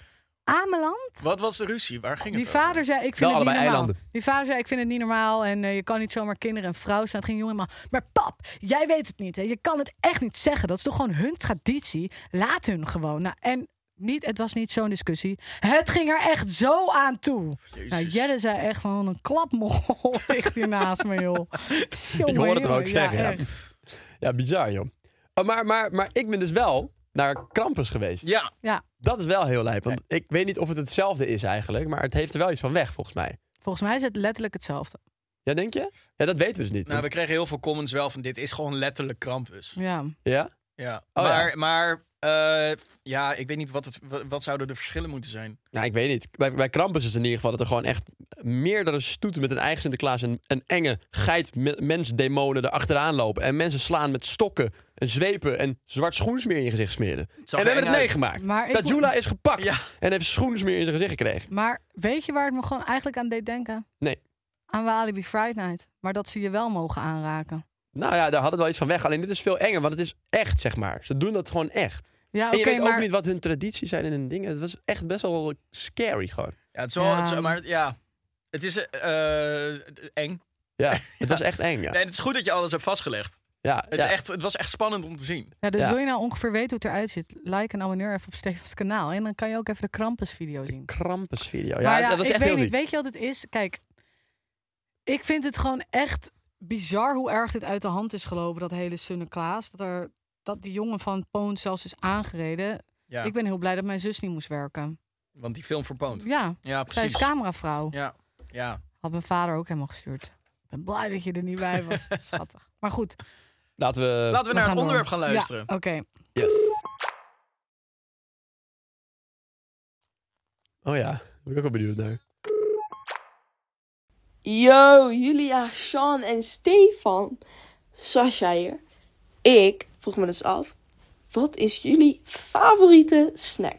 [SPEAKER 2] Ameland?
[SPEAKER 1] Wat was de ruzie? Waar ging
[SPEAKER 2] Die
[SPEAKER 1] het over?
[SPEAKER 2] vader zei, ik
[SPEAKER 3] Wel
[SPEAKER 2] vind het niet
[SPEAKER 3] allebei
[SPEAKER 2] normaal.
[SPEAKER 3] eilanden.
[SPEAKER 2] Die vader zei, ik vind het niet normaal. En eh, je kan niet zomaar kinderen en vrouw staan. Het ging jongen maar, maar pap, jij weet het niet. Hè? Je kan het echt niet zeggen. Dat is toch gewoon hun traditie. Laat hun gewoon. Nou, en niet, het was niet zo'n discussie. Het ging er echt zo aan toe. Nou, Jelle zei echt gewoon een klapmol [laughs] ligt hier naast me, joh. Jongen,
[SPEAKER 3] Ik hoor het hem ook
[SPEAKER 2] jongen.
[SPEAKER 3] zeggen. Ja,
[SPEAKER 2] echt.
[SPEAKER 3] Ja, bizar joh. Oh, maar, maar, maar ik ben dus wel naar Krampus geweest.
[SPEAKER 1] Ja,
[SPEAKER 2] Ja,
[SPEAKER 3] Dat is wel heel lijp. Want ik weet niet of het hetzelfde is eigenlijk. Maar het heeft er wel iets van weg volgens mij.
[SPEAKER 2] volgens mij is het letterlijk hetzelfde.
[SPEAKER 3] Ja, denk je? Ja, dat weten we dus niet.
[SPEAKER 1] nou, we kregen heel veel comments wel van dit is gewoon letterlijk Krampus.
[SPEAKER 2] Ja.
[SPEAKER 3] Ja?
[SPEAKER 1] Ja.
[SPEAKER 3] Oh,
[SPEAKER 1] maar maar eh, f- ja, ik weet niet wat, het, wa- wat zouden de verschillen moeten zijn.
[SPEAKER 3] Nou, ik weet niet. Bij, bij Krampus is het in ieder geval dat er gewoon echt meerdere stoeten met een eigen Sinterklaas en een enge geit me- mensdemonen erachteraan lopen. En mensen slaan met stokken en zwepen en zwart schoensmeer in je gezicht smeren. En
[SPEAKER 1] er
[SPEAKER 3] we hebben
[SPEAKER 1] eng
[SPEAKER 3] het
[SPEAKER 1] uit.
[SPEAKER 3] meegemaakt.
[SPEAKER 2] Maar ik-
[SPEAKER 3] Tajula is gepakt
[SPEAKER 1] Ja.
[SPEAKER 3] en heeft schoensmeer in zijn gezicht gekregen.
[SPEAKER 2] Maar weet je waar het me gewoon eigenlijk aan deed denken?
[SPEAKER 3] Nee.
[SPEAKER 2] Aan Walibi Friday Night. Maar dat ze je wel mogen aanraken.
[SPEAKER 3] Nou ja, daar had het wel iets van weg. Alleen dit is veel enger, want het is echt, zeg maar. Ze doen dat gewoon echt.
[SPEAKER 2] Ja,
[SPEAKER 3] en
[SPEAKER 2] oké,
[SPEAKER 3] je weet
[SPEAKER 2] maar...
[SPEAKER 3] ook niet wat hun tradities zijn en hun dingen. Het was echt best wel scary gewoon.
[SPEAKER 1] Ja, het is wel,
[SPEAKER 2] Ja.
[SPEAKER 1] het is- maar ja, het is eh, eh, eng.
[SPEAKER 3] Ja, het
[SPEAKER 1] [laughs]
[SPEAKER 3] was echt eng, ja.
[SPEAKER 1] Nee, het is goed dat je alles hebt vastgelegd.
[SPEAKER 3] ja,
[SPEAKER 1] Het,
[SPEAKER 3] ja.
[SPEAKER 1] is echt, het was echt spannend om te zien.
[SPEAKER 2] Ja, dus
[SPEAKER 3] Ja.
[SPEAKER 2] wil je nou ongeveer weten hoe het eruit ziet? Like en abonneer even op Stefans kanaal. En dan kan je ook even de Krampus video zien.
[SPEAKER 3] Krampusvideo. Ja,
[SPEAKER 2] Maar
[SPEAKER 3] het- het was
[SPEAKER 2] ik
[SPEAKER 3] echt
[SPEAKER 2] weet
[SPEAKER 3] heel
[SPEAKER 2] niet,
[SPEAKER 3] ziek.
[SPEAKER 2] weet je wat het is? Kijk, ik vind het gewoon echt bizar hoe erg dit uit de hand is gelopen, dat hele Sunne Klaas. Dat, er, dat die jongen van Poon zelfs is aangereden.
[SPEAKER 1] Ja,
[SPEAKER 2] Ik ben heel blij dat mijn zus niet moest werken.
[SPEAKER 1] want die film verpoont.
[SPEAKER 2] Ja,
[SPEAKER 1] Ja,
[SPEAKER 2] zij is
[SPEAKER 1] precies.
[SPEAKER 2] cameravrouw.
[SPEAKER 1] Ja, ja.
[SPEAKER 2] Had mijn vader ook helemaal gestuurd. Ik ben blij dat je er niet bij
[SPEAKER 1] [laughs]
[SPEAKER 2] was. Schattig. Maar goed, we
[SPEAKER 3] Laten we...
[SPEAKER 1] Laten we,
[SPEAKER 2] Eh,
[SPEAKER 1] naar
[SPEAKER 2] gaan
[SPEAKER 1] het
[SPEAKER 2] door.
[SPEAKER 1] onderwerp gaan
[SPEAKER 2] Ja,
[SPEAKER 1] luisteren.
[SPEAKER 2] Oké,
[SPEAKER 3] Yes. Oh ja, daar ben ik ook wel benieuwd naar.
[SPEAKER 4] Yo, Julia, Sean en Stefan. Sasha hier. Ik vroeg me dus af, wat is jullie favoriete snack?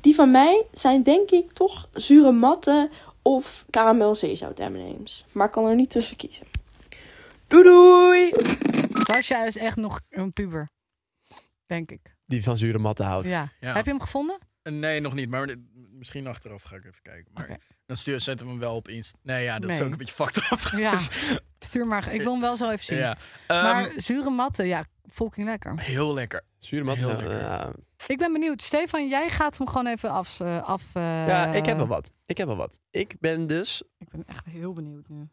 [SPEAKER 4] Die van mij zijn denk ik toch zure matten of karamel zeezout M&M's. Maar ik kan er niet tussen kiezen. Doei doei!
[SPEAKER 2] Sasha is echt nog een puber. Denk ik.
[SPEAKER 3] Die van zure matten houdt.
[SPEAKER 2] Ja.
[SPEAKER 1] Ja.
[SPEAKER 2] Heb je hem gevonden?
[SPEAKER 1] Eh, Nee, nog niet. Maar misschien achteraf ga ik even kijken. Maar
[SPEAKER 2] Oké.
[SPEAKER 1] dan stuur, zetten we hem wel op Insta. Nee, ja, dat is
[SPEAKER 2] Nee.
[SPEAKER 1] ook een beetje fucked up. [laughs]
[SPEAKER 2] Ja.
[SPEAKER 1] trouwens.
[SPEAKER 2] Stuur maar. Ik wil hem wel zo even zien.
[SPEAKER 1] ja.
[SPEAKER 2] maar
[SPEAKER 1] Ehm,
[SPEAKER 2] zure matten, ja, fucking lekker.
[SPEAKER 1] heel lekker.
[SPEAKER 3] Zure matten.
[SPEAKER 1] Heel
[SPEAKER 3] ja,
[SPEAKER 1] lekker.
[SPEAKER 3] ja.
[SPEAKER 2] Ik ben benieuwd. Stefan, jij gaat hem gewoon even af... eh, af eh,
[SPEAKER 3] ja, ik heb wel wat. Ik heb wel wat. Ik ben dus...
[SPEAKER 2] Ik ben echt heel benieuwd nu.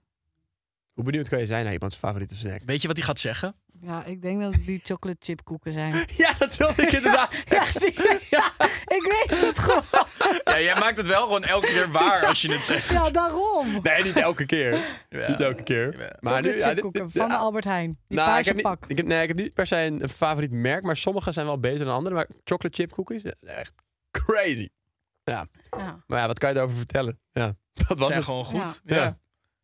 [SPEAKER 3] Hoe benieuwd kan je zijn naar iemands favoriete snack?
[SPEAKER 1] Weet je wat hij gaat zeggen?
[SPEAKER 2] Ja, ik denk dat het die chocolate chip koeken zijn.
[SPEAKER 3] [laughs] Ja, dat wilde ik inderdaad
[SPEAKER 2] [laughs] Ja,
[SPEAKER 3] zeggen.
[SPEAKER 2] zie je? Ja, ik weet het
[SPEAKER 1] [laughs]
[SPEAKER 2] gewoon.
[SPEAKER 1] [laughs] Ja, jij maakt het wel gewoon elke keer waar als je het zegt.
[SPEAKER 2] Ja, daarom.
[SPEAKER 3] Nee, niet elke keer.
[SPEAKER 1] Ja.
[SPEAKER 3] Niet elke keer.
[SPEAKER 1] Ja.
[SPEAKER 3] Maar nu,
[SPEAKER 2] chocolate
[SPEAKER 3] ja,
[SPEAKER 2] chip
[SPEAKER 3] dit-
[SPEAKER 2] koeken
[SPEAKER 3] dit-
[SPEAKER 2] van de
[SPEAKER 3] ja.
[SPEAKER 2] Albert Heijn. Die
[SPEAKER 3] Nou, ik
[SPEAKER 2] paarse
[SPEAKER 3] heb, niet,
[SPEAKER 2] pak.
[SPEAKER 3] ik, heb, nee, ik heb niet per se een, een favoriet merk, maar sommige zijn wel beter dan andere. Maar chocolate chip cookies, ja, echt crazy. Ja.
[SPEAKER 2] Ja.
[SPEAKER 3] Maar ja, wat kan je daarover vertellen? Ja, [laughs] dat was
[SPEAKER 1] Zijn
[SPEAKER 3] het.
[SPEAKER 1] gewoon goed.
[SPEAKER 3] Ja.
[SPEAKER 1] Ja.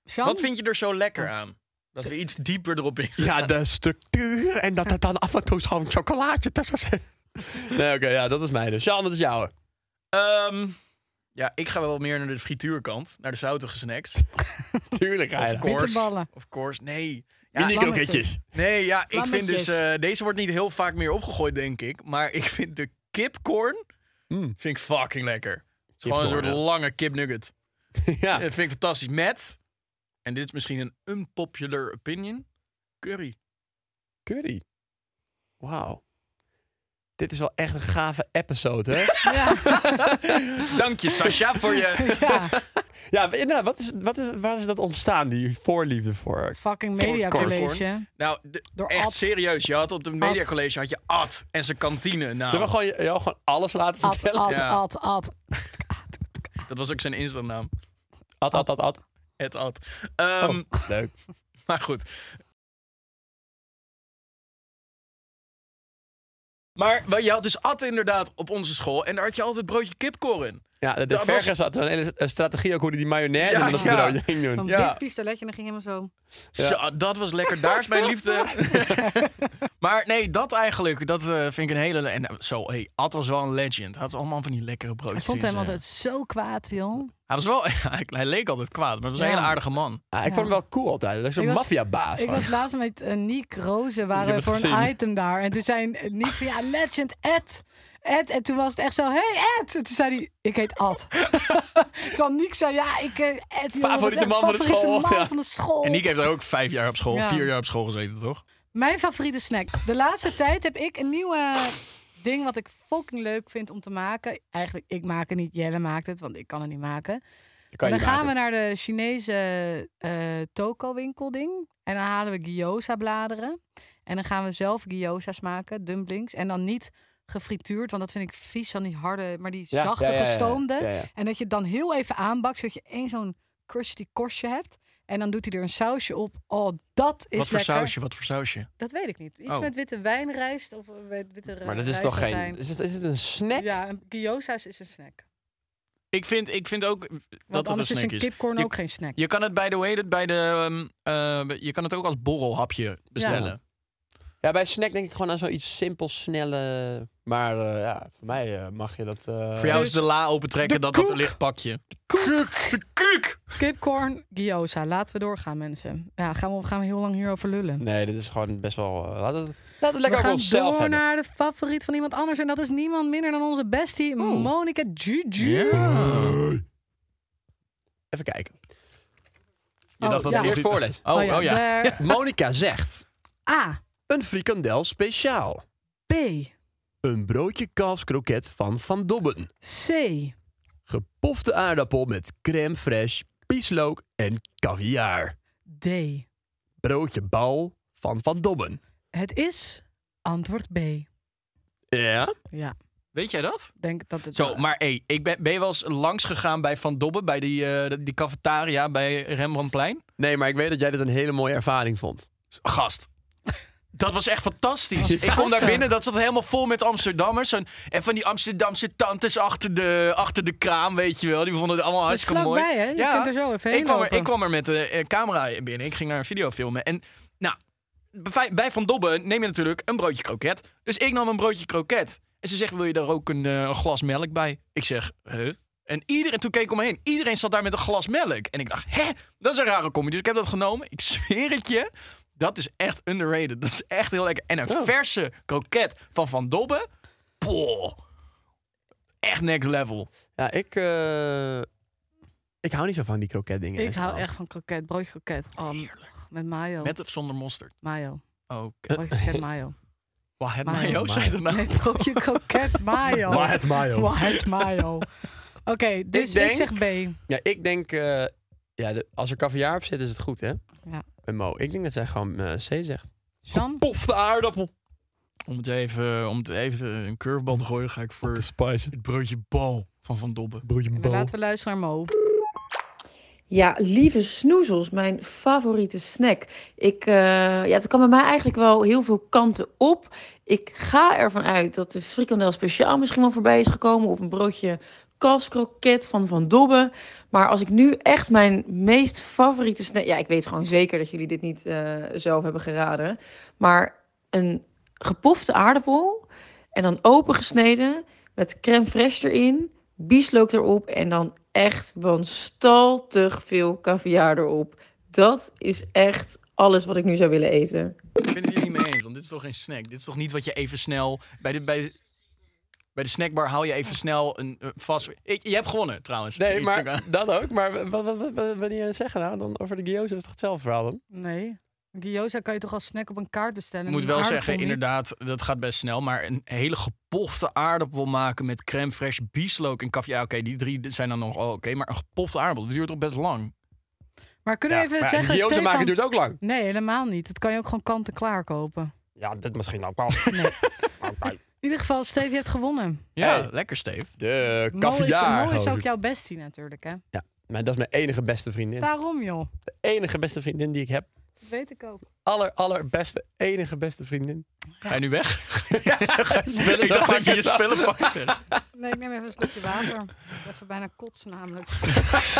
[SPEAKER 2] Sjan?
[SPEAKER 1] Wat vind je er zo lekker aan? Dat we iets dieper erop in. [laughs]
[SPEAKER 3] Ja, de structuur en dat er dan af en toe zo'n chocolaatje tussen zit. Nee, oké, ja, dat is mij dus. Sjaan, dat is jouwe.
[SPEAKER 1] Ehm, ja, ik ga wel meer naar de frituurkant. Naar de zoutige snacks.
[SPEAKER 3] Tuurlijk, ga je dat.
[SPEAKER 1] Of course.
[SPEAKER 2] Bitterballen.
[SPEAKER 1] Of course. Nee. Ja,
[SPEAKER 3] Mini-kroketjes.
[SPEAKER 1] nee, ja, ik vind
[SPEAKER 2] Lammetjes.
[SPEAKER 1] dus... eh, deze wordt niet heel vaak meer opgegooid, denk ik. Maar ik vind de kipcorn... Vind ik fucking lekker. Het is gewoon een soort
[SPEAKER 3] Mm. Kipcorn,
[SPEAKER 1] lange kipnugget.
[SPEAKER 3] Ja.
[SPEAKER 1] Dat vind ik fantastisch. Met, en dit is misschien een unpopular opinion, curry.
[SPEAKER 3] Curry. Wauw. Dit is wel echt een gave episode, hè?
[SPEAKER 2] Ja,
[SPEAKER 1] Dank je, Sascha,
[SPEAKER 2] [laughs]
[SPEAKER 1] voor je...
[SPEAKER 2] ja.
[SPEAKER 3] [laughs] ja, inderdaad. Wat is, wat is, waar is dat ontstaan, die voorliefde voor?
[SPEAKER 2] fucking
[SPEAKER 1] Voor
[SPEAKER 2] media
[SPEAKER 1] corn.
[SPEAKER 2] college.
[SPEAKER 1] Nou, de-
[SPEAKER 2] Door
[SPEAKER 1] echt
[SPEAKER 2] Ad.
[SPEAKER 1] serieus. Je had op de mediacollege had je Ad en zijn kantine. Nou,
[SPEAKER 3] Zullen we gewoon, jou gewoon alles laten
[SPEAKER 2] Ad,
[SPEAKER 3] vertellen?
[SPEAKER 2] ad,
[SPEAKER 1] Ja.
[SPEAKER 2] ad, ad.
[SPEAKER 1] Dat was ook zijn Instagram-naam.
[SPEAKER 3] Ad, ad, Oh, ad, ad.
[SPEAKER 1] Het Ad. Ehm, [laughs]
[SPEAKER 3] Leuk.
[SPEAKER 1] Maar goed. Maar wel, je had dus at inderdaad op onze school. En daar had je altijd broodje kipkorn.
[SPEAKER 3] Ja, de, de
[SPEAKER 1] Dat
[SPEAKER 3] Vergers
[SPEAKER 1] was-
[SPEAKER 3] had een hele s- strategie ook hoe hij die mayonaise
[SPEAKER 1] Ja,
[SPEAKER 3] met dat
[SPEAKER 1] ja.
[SPEAKER 3] broodje ging doen.
[SPEAKER 2] Zo'n
[SPEAKER 1] Ja.
[SPEAKER 2] dik pistoletje en dan ging helemaal zo.
[SPEAKER 1] Zo, dat was lekker. Daar is mijn [laughs] liefde. maar nee, dat eigenlijk. Dat eh, vind ik een hele... le- En eh, zo, hey, Ad was wel een legend. Hij had allemaal van die lekkere
[SPEAKER 2] Ik
[SPEAKER 1] broodjes.
[SPEAKER 2] vond
[SPEAKER 1] in
[SPEAKER 2] hem
[SPEAKER 1] zijn-
[SPEAKER 2] altijd zo kwaad, joh.
[SPEAKER 1] Hij was wel... [laughs] hij, hij leek altijd kwaad, maar hij was een
[SPEAKER 2] Ja.
[SPEAKER 1] hele aardige man.
[SPEAKER 3] Ah, ik vond hem wel cool altijd. Dat is een
[SPEAKER 2] Ik was-
[SPEAKER 3] maffiabaas.
[SPEAKER 2] Ik
[SPEAKER 3] gewoon.
[SPEAKER 2] was laatst met eh, Niek Rozen
[SPEAKER 3] Ik
[SPEAKER 2] waren we
[SPEAKER 3] heb
[SPEAKER 2] voor
[SPEAKER 3] het
[SPEAKER 2] een
[SPEAKER 3] gezien.
[SPEAKER 2] item daar. En toen zei Niek van, ja, legend, Ed. Ed. En toen was het echt zo, hey Ed. En toen zei hij, ik heet
[SPEAKER 3] [laughs]
[SPEAKER 2] Ad. toen Niek zei, ja, ik eh, Ed. joh, dat is
[SPEAKER 3] Favoriete
[SPEAKER 2] echt
[SPEAKER 3] man van de
[SPEAKER 2] favoriete
[SPEAKER 3] school,
[SPEAKER 2] man
[SPEAKER 3] ja.
[SPEAKER 2] van de school.
[SPEAKER 1] En Niek heeft daar ook vijf jaar op school,
[SPEAKER 2] Ja.
[SPEAKER 1] vier jaar op school gezeten, toch?
[SPEAKER 2] Mijn favoriete snack. De laatste tijd heb ik een nieuwe ding wat ik fucking leuk vind om te maken. Eigenlijk, ik maak het niet. Jelle maakt het, want ik kan het niet
[SPEAKER 3] Kan
[SPEAKER 2] maken.
[SPEAKER 3] je
[SPEAKER 2] dan
[SPEAKER 3] niet
[SPEAKER 2] gaan
[SPEAKER 3] maken.
[SPEAKER 2] we naar de Chinese eh toko-winkel ding. En dan halen we gyoza-bladeren. En dan gaan we zelf gyoza's maken, dumplings. En dan niet gefrituurd, want dat vind ik vies van die harde, maar die
[SPEAKER 3] Ja,
[SPEAKER 2] zachte
[SPEAKER 3] ja, ja, ja, ja.
[SPEAKER 2] gestoomde.
[SPEAKER 3] Ja, ja.
[SPEAKER 2] En dat je het dan heel even aanbakt, zodat je één zo'n crusty korstje hebt. En dan doet hij er een sausje op. Oh, dat is
[SPEAKER 1] Wat voor
[SPEAKER 2] lekker.
[SPEAKER 1] sausje, wat voor sausje.
[SPEAKER 2] Dat weet ik niet. Iets
[SPEAKER 1] Oh.
[SPEAKER 2] met witte wijnrijst of met witte
[SPEAKER 3] Maar dat is
[SPEAKER 2] rijst
[SPEAKER 3] toch
[SPEAKER 2] zou
[SPEAKER 3] geen...
[SPEAKER 2] eh, zijn.
[SPEAKER 3] Is het, is het een snack?
[SPEAKER 2] Ja, een gyoza's is een snack.
[SPEAKER 1] Ik vind, ik vind ook
[SPEAKER 2] Want
[SPEAKER 1] dat het een
[SPEAKER 2] anders is
[SPEAKER 1] snack
[SPEAKER 2] een
[SPEAKER 1] is.
[SPEAKER 2] kipcorn
[SPEAKER 1] Je-
[SPEAKER 2] ook geen snack.
[SPEAKER 1] Je kan het bij de way dat bij de ehm, eh, je kan het ook als borrelhapje bestellen.
[SPEAKER 3] Ja, bij snack denk ik gewoon aan zoiets simpel, snelle... Maar eh, ja, voor mij eh, mag je dat... eh,
[SPEAKER 1] Voor jou is de la opentrekken
[SPEAKER 2] Dus de
[SPEAKER 1] dat dat een
[SPEAKER 2] koek.
[SPEAKER 1] licht pakje.
[SPEAKER 2] Kipcorn, gyoza. Laten we doorgaan, mensen. Ja, gaan we, gaan we heel lang hierover lullen.
[SPEAKER 3] Nee, dit is gewoon best wel... eh, laat, het, laat het
[SPEAKER 2] we
[SPEAKER 3] lekker ook
[SPEAKER 2] gaan
[SPEAKER 3] onszelf
[SPEAKER 2] door
[SPEAKER 3] hebben.
[SPEAKER 2] naar de favoriet van iemand anders. En dat is niemand minder dan onze bestie,
[SPEAKER 1] Oh.
[SPEAKER 2] Monica Juju.
[SPEAKER 3] Even kijken.
[SPEAKER 1] Je
[SPEAKER 2] Oh,
[SPEAKER 1] dacht dat
[SPEAKER 2] ja.
[SPEAKER 1] het
[SPEAKER 3] Eerst
[SPEAKER 1] nog niet-
[SPEAKER 3] voorlezen.
[SPEAKER 1] Oh, oh ja.
[SPEAKER 2] daar-
[SPEAKER 3] Monica zegt...
[SPEAKER 2] A.
[SPEAKER 3] Een frikandel speciaal.
[SPEAKER 2] B.
[SPEAKER 3] Een broodje kalfskroket van Van Dobben.
[SPEAKER 2] C.
[SPEAKER 3] Gepofte aardappel met crème fraîche, pieslook en caviar.
[SPEAKER 2] D.
[SPEAKER 3] Broodje bal van Van Dobben.
[SPEAKER 2] Het is antwoord B.
[SPEAKER 3] Ja?
[SPEAKER 2] Ja,
[SPEAKER 1] Weet jij dat?
[SPEAKER 2] denk dat het...
[SPEAKER 1] Zo, maar hey, ik ben, ben je wel eens langs gegaan bij Van Dobben bij die, eh, die cafetaria bij Rembrandtplein?
[SPEAKER 3] Nee, maar ik weet dat jij dit een hele mooie ervaring vond.
[SPEAKER 1] Gast. Dat was echt fantastisch. Ik kom daar binnen, dat zat helemaal vol met Amsterdammers. Zo'n- En van die Amsterdamse tantes achter de, achter de kraam, weet je wel. Die vonden het allemaal
[SPEAKER 2] Dat is
[SPEAKER 1] hartstikke mooi.
[SPEAKER 2] vlakbij, hè? Je kunt er zo even heen
[SPEAKER 1] ik kwam, er,
[SPEAKER 2] lopen.
[SPEAKER 1] ik kwam er met de eh, camera binnen. Ik ging naar een video filmen. En nou, bij, bij Van Dobben neem je natuurlijk een broodje kroket. Dus ik nam een broodje kroket. En ze zegt, wil je daar ook een, eh, een glas melk bij? Ik zeg, huh? En iedereen, toen keek ik om me heen. Iedereen zat daar met een glas melk. En ik dacht, hè? Dat is een rare combi. Dus ik heb dat genomen. Ik zweer het je. Dat is echt underrated. Dat is echt heel lekker. En een verse kroket van Van Dobben. Poh. Echt next level.
[SPEAKER 3] Ja, ik... eh, Ik hou niet zo van die kroketdingen.
[SPEAKER 2] Ik
[SPEAKER 3] [laughs]
[SPEAKER 2] hou echt van kroket, broodje kroket. Oh, met mayo.
[SPEAKER 1] Met of zonder mosterd.
[SPEAKER 2] Mayo.
[SPEAKER 1] Oké.
[SPEAKER 2] Broodje kroket mayo.
[SPEAKER 1] Waar het
[SPEAKER 2] Mayo,
[SPEAKER 1] mayo, zei je dat nou?
[SPEAKER 2] Nee,
[SPEAKER 1] [laughs]
[SPEAKER 2] broodje kroket mayo.
[SPEAKER 3] het [laughs] mayo.
[SPEAKER 2] White mayo. Oké, dus ik,
[SPEAKER 3] denk-
[SPEAKER 2] zeg B.
[SPEAKER 3] Ja, ik denk... eh, ja, de- als er caviar op zit, is het goed, hè?
[SPEAKER 2] Ja.
[SPEAKER 3] Bij Mo. Ik denk dat zij gewoon eh, C zegt.
[SPEAKER 2] Sam?
[SPEAKER 3] Pofte aardappel.
[SPEAKER 1] Om het even, om het even een curvebal te gooien, ga ik voor
[SPEAKER 3] spice.
[SPEAKER 1] het broodje bal van Van Dobben.
[SPEAKER 3] Broodje
[SPEAKER 2] Dan laten we luisteren naar Mo.
[SPEAKER 5] Ja, lieve snoezels, mijn favoriete snack. Ik, eh, ja, het kan bij mij eigenlijk wel heel veel kanten op. Ik ga ervan uit dat de frikandel speciaal misschien wel voorbij is gekomen. Of een broodje kalfskroket van Van Dobben. Maar als ik nu echt mijn meest favoriete snack... Ja, ik weet gewoon zeker dat jullie dit niet eh, zelf hebben geraden. Maar een gepofte aardappel en dan opengesneden met crème fraîche erin, bieslook erop en dan echt wanstaltig veel caviar erop. Dat is echt alles wat ik nu zou willen eten.
[SPEAKER 1] Ik ben het hier niet mee eens, want dit is toch geen snack? Dit is toch niet wat je even snel... Bij de, bij de, bij de snackbar haal je even snel een, een vast... Ik, je hebt gewonnen, trouwens.
[SPEAKER 3] Nee,
[SPEAKER 1] Ik druk
[SPEAKER 3] maar
[SPEAKER 1] aan.
[SPEAKER 3] dat ook. Maar wat, wat, wat, wat ben je aan het zeggen nou? Dan over de gyoza is het toch hetzelfde verhaal dan?
[SPEAKER 2] Nee. Gyoza kan je toch als snack op een kaart bestellen?
[SPEAKER 1] [laughs] Ik moet
[SPEAKER 2] Een
[SPEAKER 1] wel
[SPEAKER 2] aardappel
[SPEAKER 1] zeggen,
[SPEAKER 2] niet.
[SPEAKER 1] inderdaad, dat gaat best snel. Maar een hele gepofte aardappel maken met crème fraîche, bieslook en kaviaar. Oké, die drie zijn dan nog oh, oké. maar een gepofte aardappel, dat duurt toch best lang?
[SPEAKER 2] Maar kunnen we even
[SPEAKER 3] maar
[SPEAKER 2] zeggen,
[SPEAKER 3] die gyoza
[SPEAKER 2] Stefan...
[SPEAKER 3] maken duurt ook lang.
[SPEAKER 2] Nee, helemaal niet. Dat kan je ook gewoon kant-en-klaar kopen.
[SPEAKER 3] Ja, dit misschien ook wel. [laughs]
[SPEAKER 2] In ieder geval, Steve, je hebt gewonnen.
[SPEAKER 1] Ja,
[SPEAKER 3] Hey.
[SPEAKER 1] lekker, Steve.
[SPEAKER 3] De
[SPEAKER 2] Mo is,
[SPEAKER 3] caviar.
[SPEAKER 2] Mo is
[SPEAKER 3] gozer.
[SPEAKER 2] ook jouw bestie natuurlijk, hè?
[SPEAKER 3] Ja, maar dat is mijn enige beste vriendin.
[SPEAKER 2] Daarom, joh.
[SPEAKER 3] De enige beste vriendin die ik heb.
[SPEAKER 2] Dat weet ik ook.
[SPEAKER 3] aller, allerbeste, enige beste [laughs] vriendin.
[SPEAKER 1] Ga je nu weg?
[SPEAKER 3] Spullen [laughs]
[SPEAKER 1] Ik
[SPEAKER 3] zo
[SPEAKER 1] dacht dat je
[SPEAKER 3] pakken.
[SPEAKER 1] je spullen
[SPEAKER 3] [laughs]
[SPEAKER 1] pakte.
[SPEAKER 2] Nee, ik neem even een slokje water. Even bijna kotsen namelijk.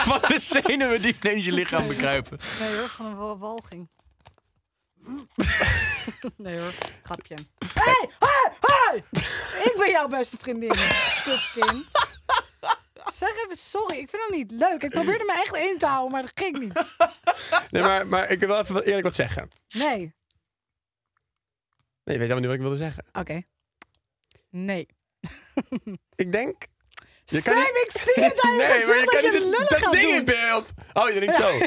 [SPEAKER 1] Wat de zenuwen die ineens je lichaam bekruipen.
[SPEAKER 2] Nee hoor, van een wa- walging. [laughs] Nee hoor, grapje. hey, hey, hey! Ik ben jouw beste vriendin, kutkind. Zeg even sorry, ik vind dat niet leuk. Ik probeerde me echt in te houden, maar dat ging niet.
[SPEAKER 3] Nee, maar, maar ik wil wel even wat- eerlijk wat zeggen.
[SPEAKER 2] Nee,
[SPEAKER 3] Nee, je weet helemaal niet wat ik wilde zeggen.
[SPEAKER 2] oké. Nee.
[SPEAKER 3] Ik denk... Je
[SPEAKER 2] Sam, ik zie het aan
[SPEAKER 3] [laughs]
[SPEAKER 2] je
[SPEAKER 3] Nee, maar
[SPEAKER 2] gezicht
[SPEAKER 3] je
[SPEAKER 2] dat
[SPEAKER 3] kan
[SPEAKER 2] je
[SPEAKER 3] niet
[SPEAKER 2] lullen
[SPEAKER 3] dat
[SPEAKER 2] gaat
[SPEAKER 3] ding
[SPEAKER 2] doen.
[SPEAKER 3] in beeld. Oh, je denkt zo.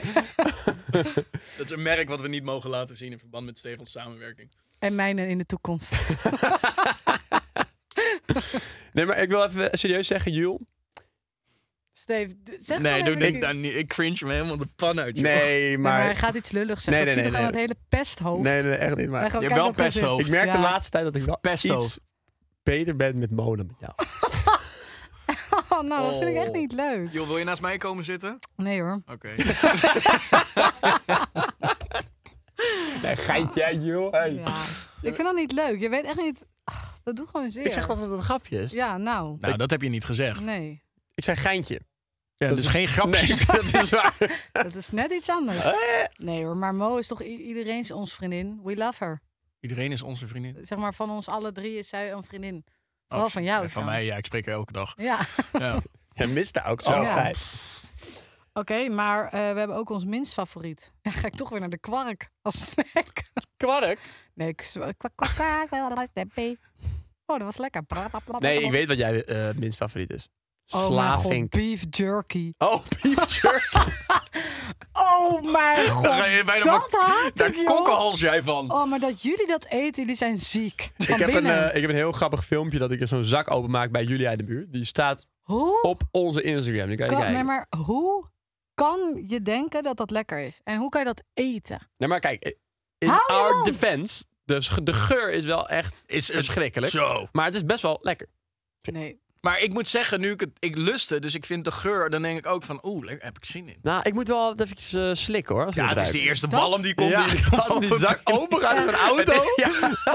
[SPEAKER 1] Dat is een merk wat we niet mogen laten zien in verband met Stefans samenwerking.
[SPEAKER 2] En mijne in de toekomst.
[SPEAKER 3] Nee, maar ik wil even serieus zeggen, Jules.
[SPEAKER 2] Steve, d- zeg
[SPEAKER 1] nee,
[SPEAKER 2] gewoon
[SPEAKER 1] doe
[SPEAKER 2] even
[SPEAKER 1] ik
[SPEAKER 2] niet.
[SPEAKER 1] daar niet. Ik cringe me helemaal de pan uit. joh.
[SPEAKER 3] Nee,
[SPEAKER 2] Nee, maar
[SPEAKER 3] maar...
[SPEAKER 2] hij gaat iets lulligs zeggen.
[SPEAKER 3] Nee,
[SPEAKER 2] Nee,
[SPEAKER 3] nee,
[SPEAKER 2] dat
[SPEAKER 3] nee,
[SPEAKER 2] zie je toch aan het hele pesthoofd?
[SPEAKER 3] Nee, nee, echt niet. Maar...
[SPEAKER 2] Wij gaan
[SPEAKER 1] Je hebt
[SPEAKER 2] kijken of
[SPEAKER 1] wel
[SPEAKER 2] dat zit.
[SPEAKER 1] pesthoofd.
[SPEAKER 3] Ik merk de
[SPEAKER 2] Ja.
[SPEAKER 3] laatste tijd dat ik wel
[SPEAKER 1] Pesto.
[SPEAKER 3] iets beter ben met mode met jou.
[SPEAKER 2] [laughs] Oh, nou, dat vind ik echt
[SPEAKER 1] Oh.
[SPEAKER 2] niet leuk.
[SPEAKER 1] Joh, wil je naast mij komen zitten?
[SPEAKER 2] Nee hoor.
[SPEAKER 1] Oké.
[SPEAKER 3] [laughs] Nee, geit jij, joh.
[SPEAKER 2] Ja. Ik vind dat niet leuk. Je weet echt niet... Ah, Dat doet gewoon zeer.
[SPEAKER 3] Ik zeg altijd dat het een grapje is.
[SPEAKER 2] Ja, nou.
[SPEAKER 1] [laughs] Nou, dat heb je niet gezegd.
[SPEAKER 2] Nee.
[SPEAKER 3] Ik zei geintje.
[SPEAKER 1] Ja, dat is geen
[SPEAKER 3] Nee,
[SPEAKER 1] grapje. [laughs]
[SPEAKER 3] [laughs] dat is
[SPEAKER 2] [laughs]
[SPEAKER 3] waar.
[SPEAKER 2] Dat is net iets anders. Nee hoor, maar Mo is toch i- iedereen's ons vriendin. We love her.
[SPEAKER 1] Iedereen is onze vriendin.
[SPEAKER 2] Zeg maar, van ons alle drie is zij een vriendin. Vooral Oh, van jou.
[SPEAKER 1] Oh, Ja, Van
[SPEAKER 2] Sjan.
[SPEAKER 1] mij, ja. Ik spreek haar elke dag.
[SPEAKER 2] Ja.
[SPEAKER 1] Ja.
[SPEAKER 3] Jij miste ook zo.
[SPEAKER 2] Ja. [laughs] Oké, maar eh, we hebben ook ons minst favoriet. [laughs] Dan ga ik toch weer naar de kwark als snack. [laughs]
[SPEAKER 3] Kwark?
[SPEAKER 2] Nee, ik zwa- kwak, kwak, kwak, wel een snappy. Oh, dat was lekker. Bla, bla, bla, bla,
[SPEAKER 3] Nee,
[SPEAKER 2] bla.
[SPEAKER 3] ik weet wat jij eh, minst favoriet is.
[SPEAKER 2] Oh mijn god,
[SPEAKER 3] Slavink.
[SPEAKER 2] beef jerky.
[SPEAKER 3] Oh, [laughs] beef jerky.
[SPEAKER 2] Oh [laughs] mijn god,
[SPEAKER 1] Dan ga je bijna
[SPEAKER 2] dat
[SPEAKER 1] maar-
[SPEAKER 2] haat
[SPEAKER 1] Daar
[SPEAKER 2] ik, joh.
[SPEAKER 1] kokkenhals jij van.
[SPEAKER 2] Oh, maar dat jullie dat eten, jullie zijn ziek. Van
[SPEAKER 3] ik, heb een,
[SPEAKER 2] binnen.
[SPEAKER 3] eh, ik heb een heel grappig filmpje dat ik zo'n zak openmaak bij jullie uit de buurt. Die staat
[SPEAKER 2] Hoe?
[SPEAKER 3] op onze Instagram. Die kan je
[SPEAKER 2] kan,
[SPEAKER 3] kijken.
[SPEAKER 2] nee, maar hoe kan je denken dat dat lekker is? En hoe kan je dat eten?
[SPEAKER 3] Nee, maar kijk. eh, In
[SPEAKER 2] Hou je
[SPEAKER 3] our
[SPEAKER 2] mond.
[SPEAKER 3] defense, dus de geur is wel echt
[SPEAKER 1] Is een-
[SPEAKER 3] verschrikkelijk.
[SPEAKER 1] Zo.
[SPEAKER 3] Maar het is best wel lekker.
[SPEAKER 2] Nee.
[SPEAKER 1] Maar ik moet zeggen, nu ik het... Ik lustte, dus ik vind de geur... Dan denk ik ook van... Oeh, daar heb ik zin in.
[SPEAKER 3] Nou, ik moet wel altijd eventjes eh, slikken hoor. als ik
[SPEAKER 1] Ja, het is
[SPEAKER 3] ruik.
[SPEAKER 1] de
[SPEAKER 2] [laughs]
[SPEAKER 1] eerste
[SPEAKER 2] Dat-
[SPEAKER 1] walm die komt.
[SPEAKER 3] Ja, dat is die zak open gaat uit zo'n
[SPEAKER 1] Het is-
[SPEAKER 3] auto.
[SPEAKER 1] ja.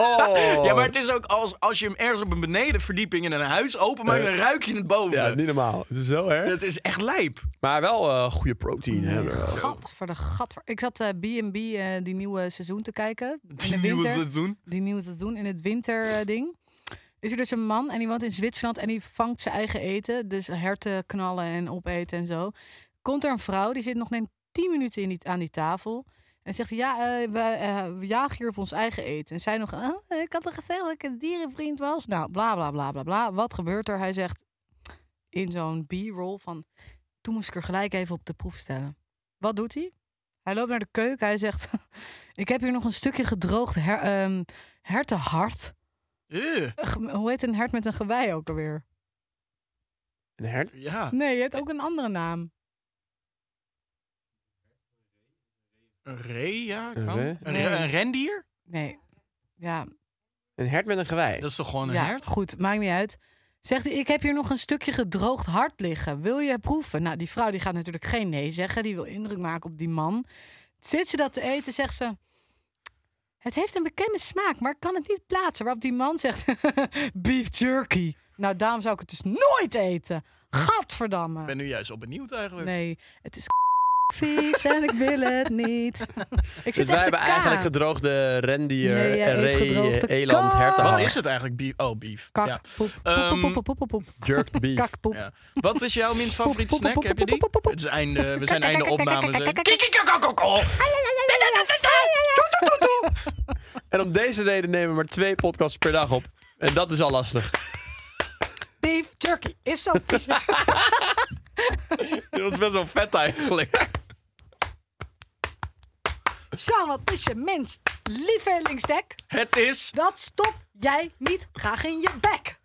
[SPEAKER 3] Oh.
[SPEAKER 1] Ja, maar het is ook als, als je hem ergens op een benedenverdieping in een huis openmaakt, dan ruik je het boven.
[SPEAKER 3] Ja, niet normaal. Het is zo erg.
[SPEAKER 1] Dat is echt lijp.
[SPEAKER 3] Maar wel eh, goede proteïne hebben.
[SPEAKER 2] Gat voor de gat. Ik zat eh, B&B eh, die nieuwe seizoen te kijken. in de
[SPEAKER 1] nieuwe
[SPEAKER 2] winter.
[SPEAKER 1] seizoen.
[SPEAKER 2] Die nieuwe seizoen in het winterding. is er dus een man en die woont in Zwitserland en die vangt zijn eigen eten. Dus herten knallen en opeten en zo. Komt er een vrouw, die zit nog net 10 minuten in die, aan die tafel. En zegt, ja, eh, we, eh, we jagen hier op ons eigen eten. En zij nog, "Ah, ik had er gezegd dat ik een dierenvriend was. Nou, bla, bla, bla, bla, bla. Wat gebeurt er? Hij zegt in zo'n b-roll van... Toen moest ik er gelijk even op de proef stellen. Wat doet hij? Hij loopt naar de keuken. Hij zegt, [laughs] ik heb hier nog een stukje gedroogd her, ehm, hertenhart.
[SPEAKER 1] Eh,
[SPEAKER 2] Ge- Hoe heet een hert met een gewei ook alweer?
[SPEAKER 3] Een hert?
[SPEAKER 1] ja.
[SPEAKER 2] Nee, je hebt ook een andere naam.
[SPEAKER 1] Een ree, ja.
[SPEAKER 3] Een
[SPEAKER 1] Kan.
[SPEAKER 3] ree?
[SPEAKER 1] Een, re- een rendier?
[SPEAKER 2] Nee. Ja,
[SPEAKER 3] Een hert met een gewei.
[SPEAKER 1] Dat is toch gewoon een
[SPEAKER 2] ja
[SPEAKER 1] hert?
[SPEAKER 2] goed, maakt niet uit. Zegt hij, ik heb hier nog een stukje gedroogd hart liggen. Wil je proeven? Nou, die vrouw die gaat natuurlijk geen nee zeggen. Die wil indruk maken op die man. Zit ze dat te eten, zegt ze... Het heeft een bekende smaak, maar ik kan het niet plaatsen. Waarop die man zegt, [laughs] beef jerky. Nou, daarom zou ik het dus nooit eten. Gadverdamme.
[SPEAKER 1] Ik ben nu juist al benieuwd eigenlijk.
[SPEAKER 2] Nee, het is [laughs] vies en ik wil het
[SPEAKER 1] [laughs]
[SPEAKER 2] niet. Ik
[SPEAKER 3] dus
[SPEAKER 2] zit echt
[SPEAKER 3] wij
[SPEAKER 2] te
[SPEAKER 3] hebben eigenlijk
[SPEAKER 2] kaak.
[SPEAKER 3] gedroogde rendier,
[SPEAKER 2] Nee, jij eet
[SPEAKER 3] ree,
[SPEAKER 2] gedroogde
[SPEAKER 3] eland,
[SPEAKER 2] kaak.
[SPEAKER 3] herten.
[SPEAKER 1] Wat is het eigenlijk? Beef? Oh, beef.
[SPEAKER 2] Kak,
[SPEAKER 1] Ja.
[SPEAKER 2] poep, poep,
[SPEAKER 1] Ehm,
[SPEAKER 2] poep, poep, poep, poep, poep.
[SPEAKER 3] Jerked beef.
[SPEAKER 2] Kak, poep.
[SPEAKER 1] Ja. Wat is jouw minst favoriete
[SPEAKER 2] Poep, poep,
[SPEAKER 1] snack?
[SPEAKER 2] poep,
[SPEAKER 1] Heb je die?
[SPEAKER 2] poep, poep, poep.
[SPEAKER 1] Het is einde, we zijn einde opname. dus-
[SPEAKER 3] En om deze reden nemen we maar twee podcasts per dag op. En dat is al lastig.
[SPEAKER 2] Beef jerky is zo vies.
[SPEAKER 3] dat is best wel vet eigenlijk.
[SPEAKER 2] Sjaan, wat is je minst lievelingsdek?
[SPEAKER 1] Het is...
[SPEAKER 2] Dat stop jij niet graag in je bek.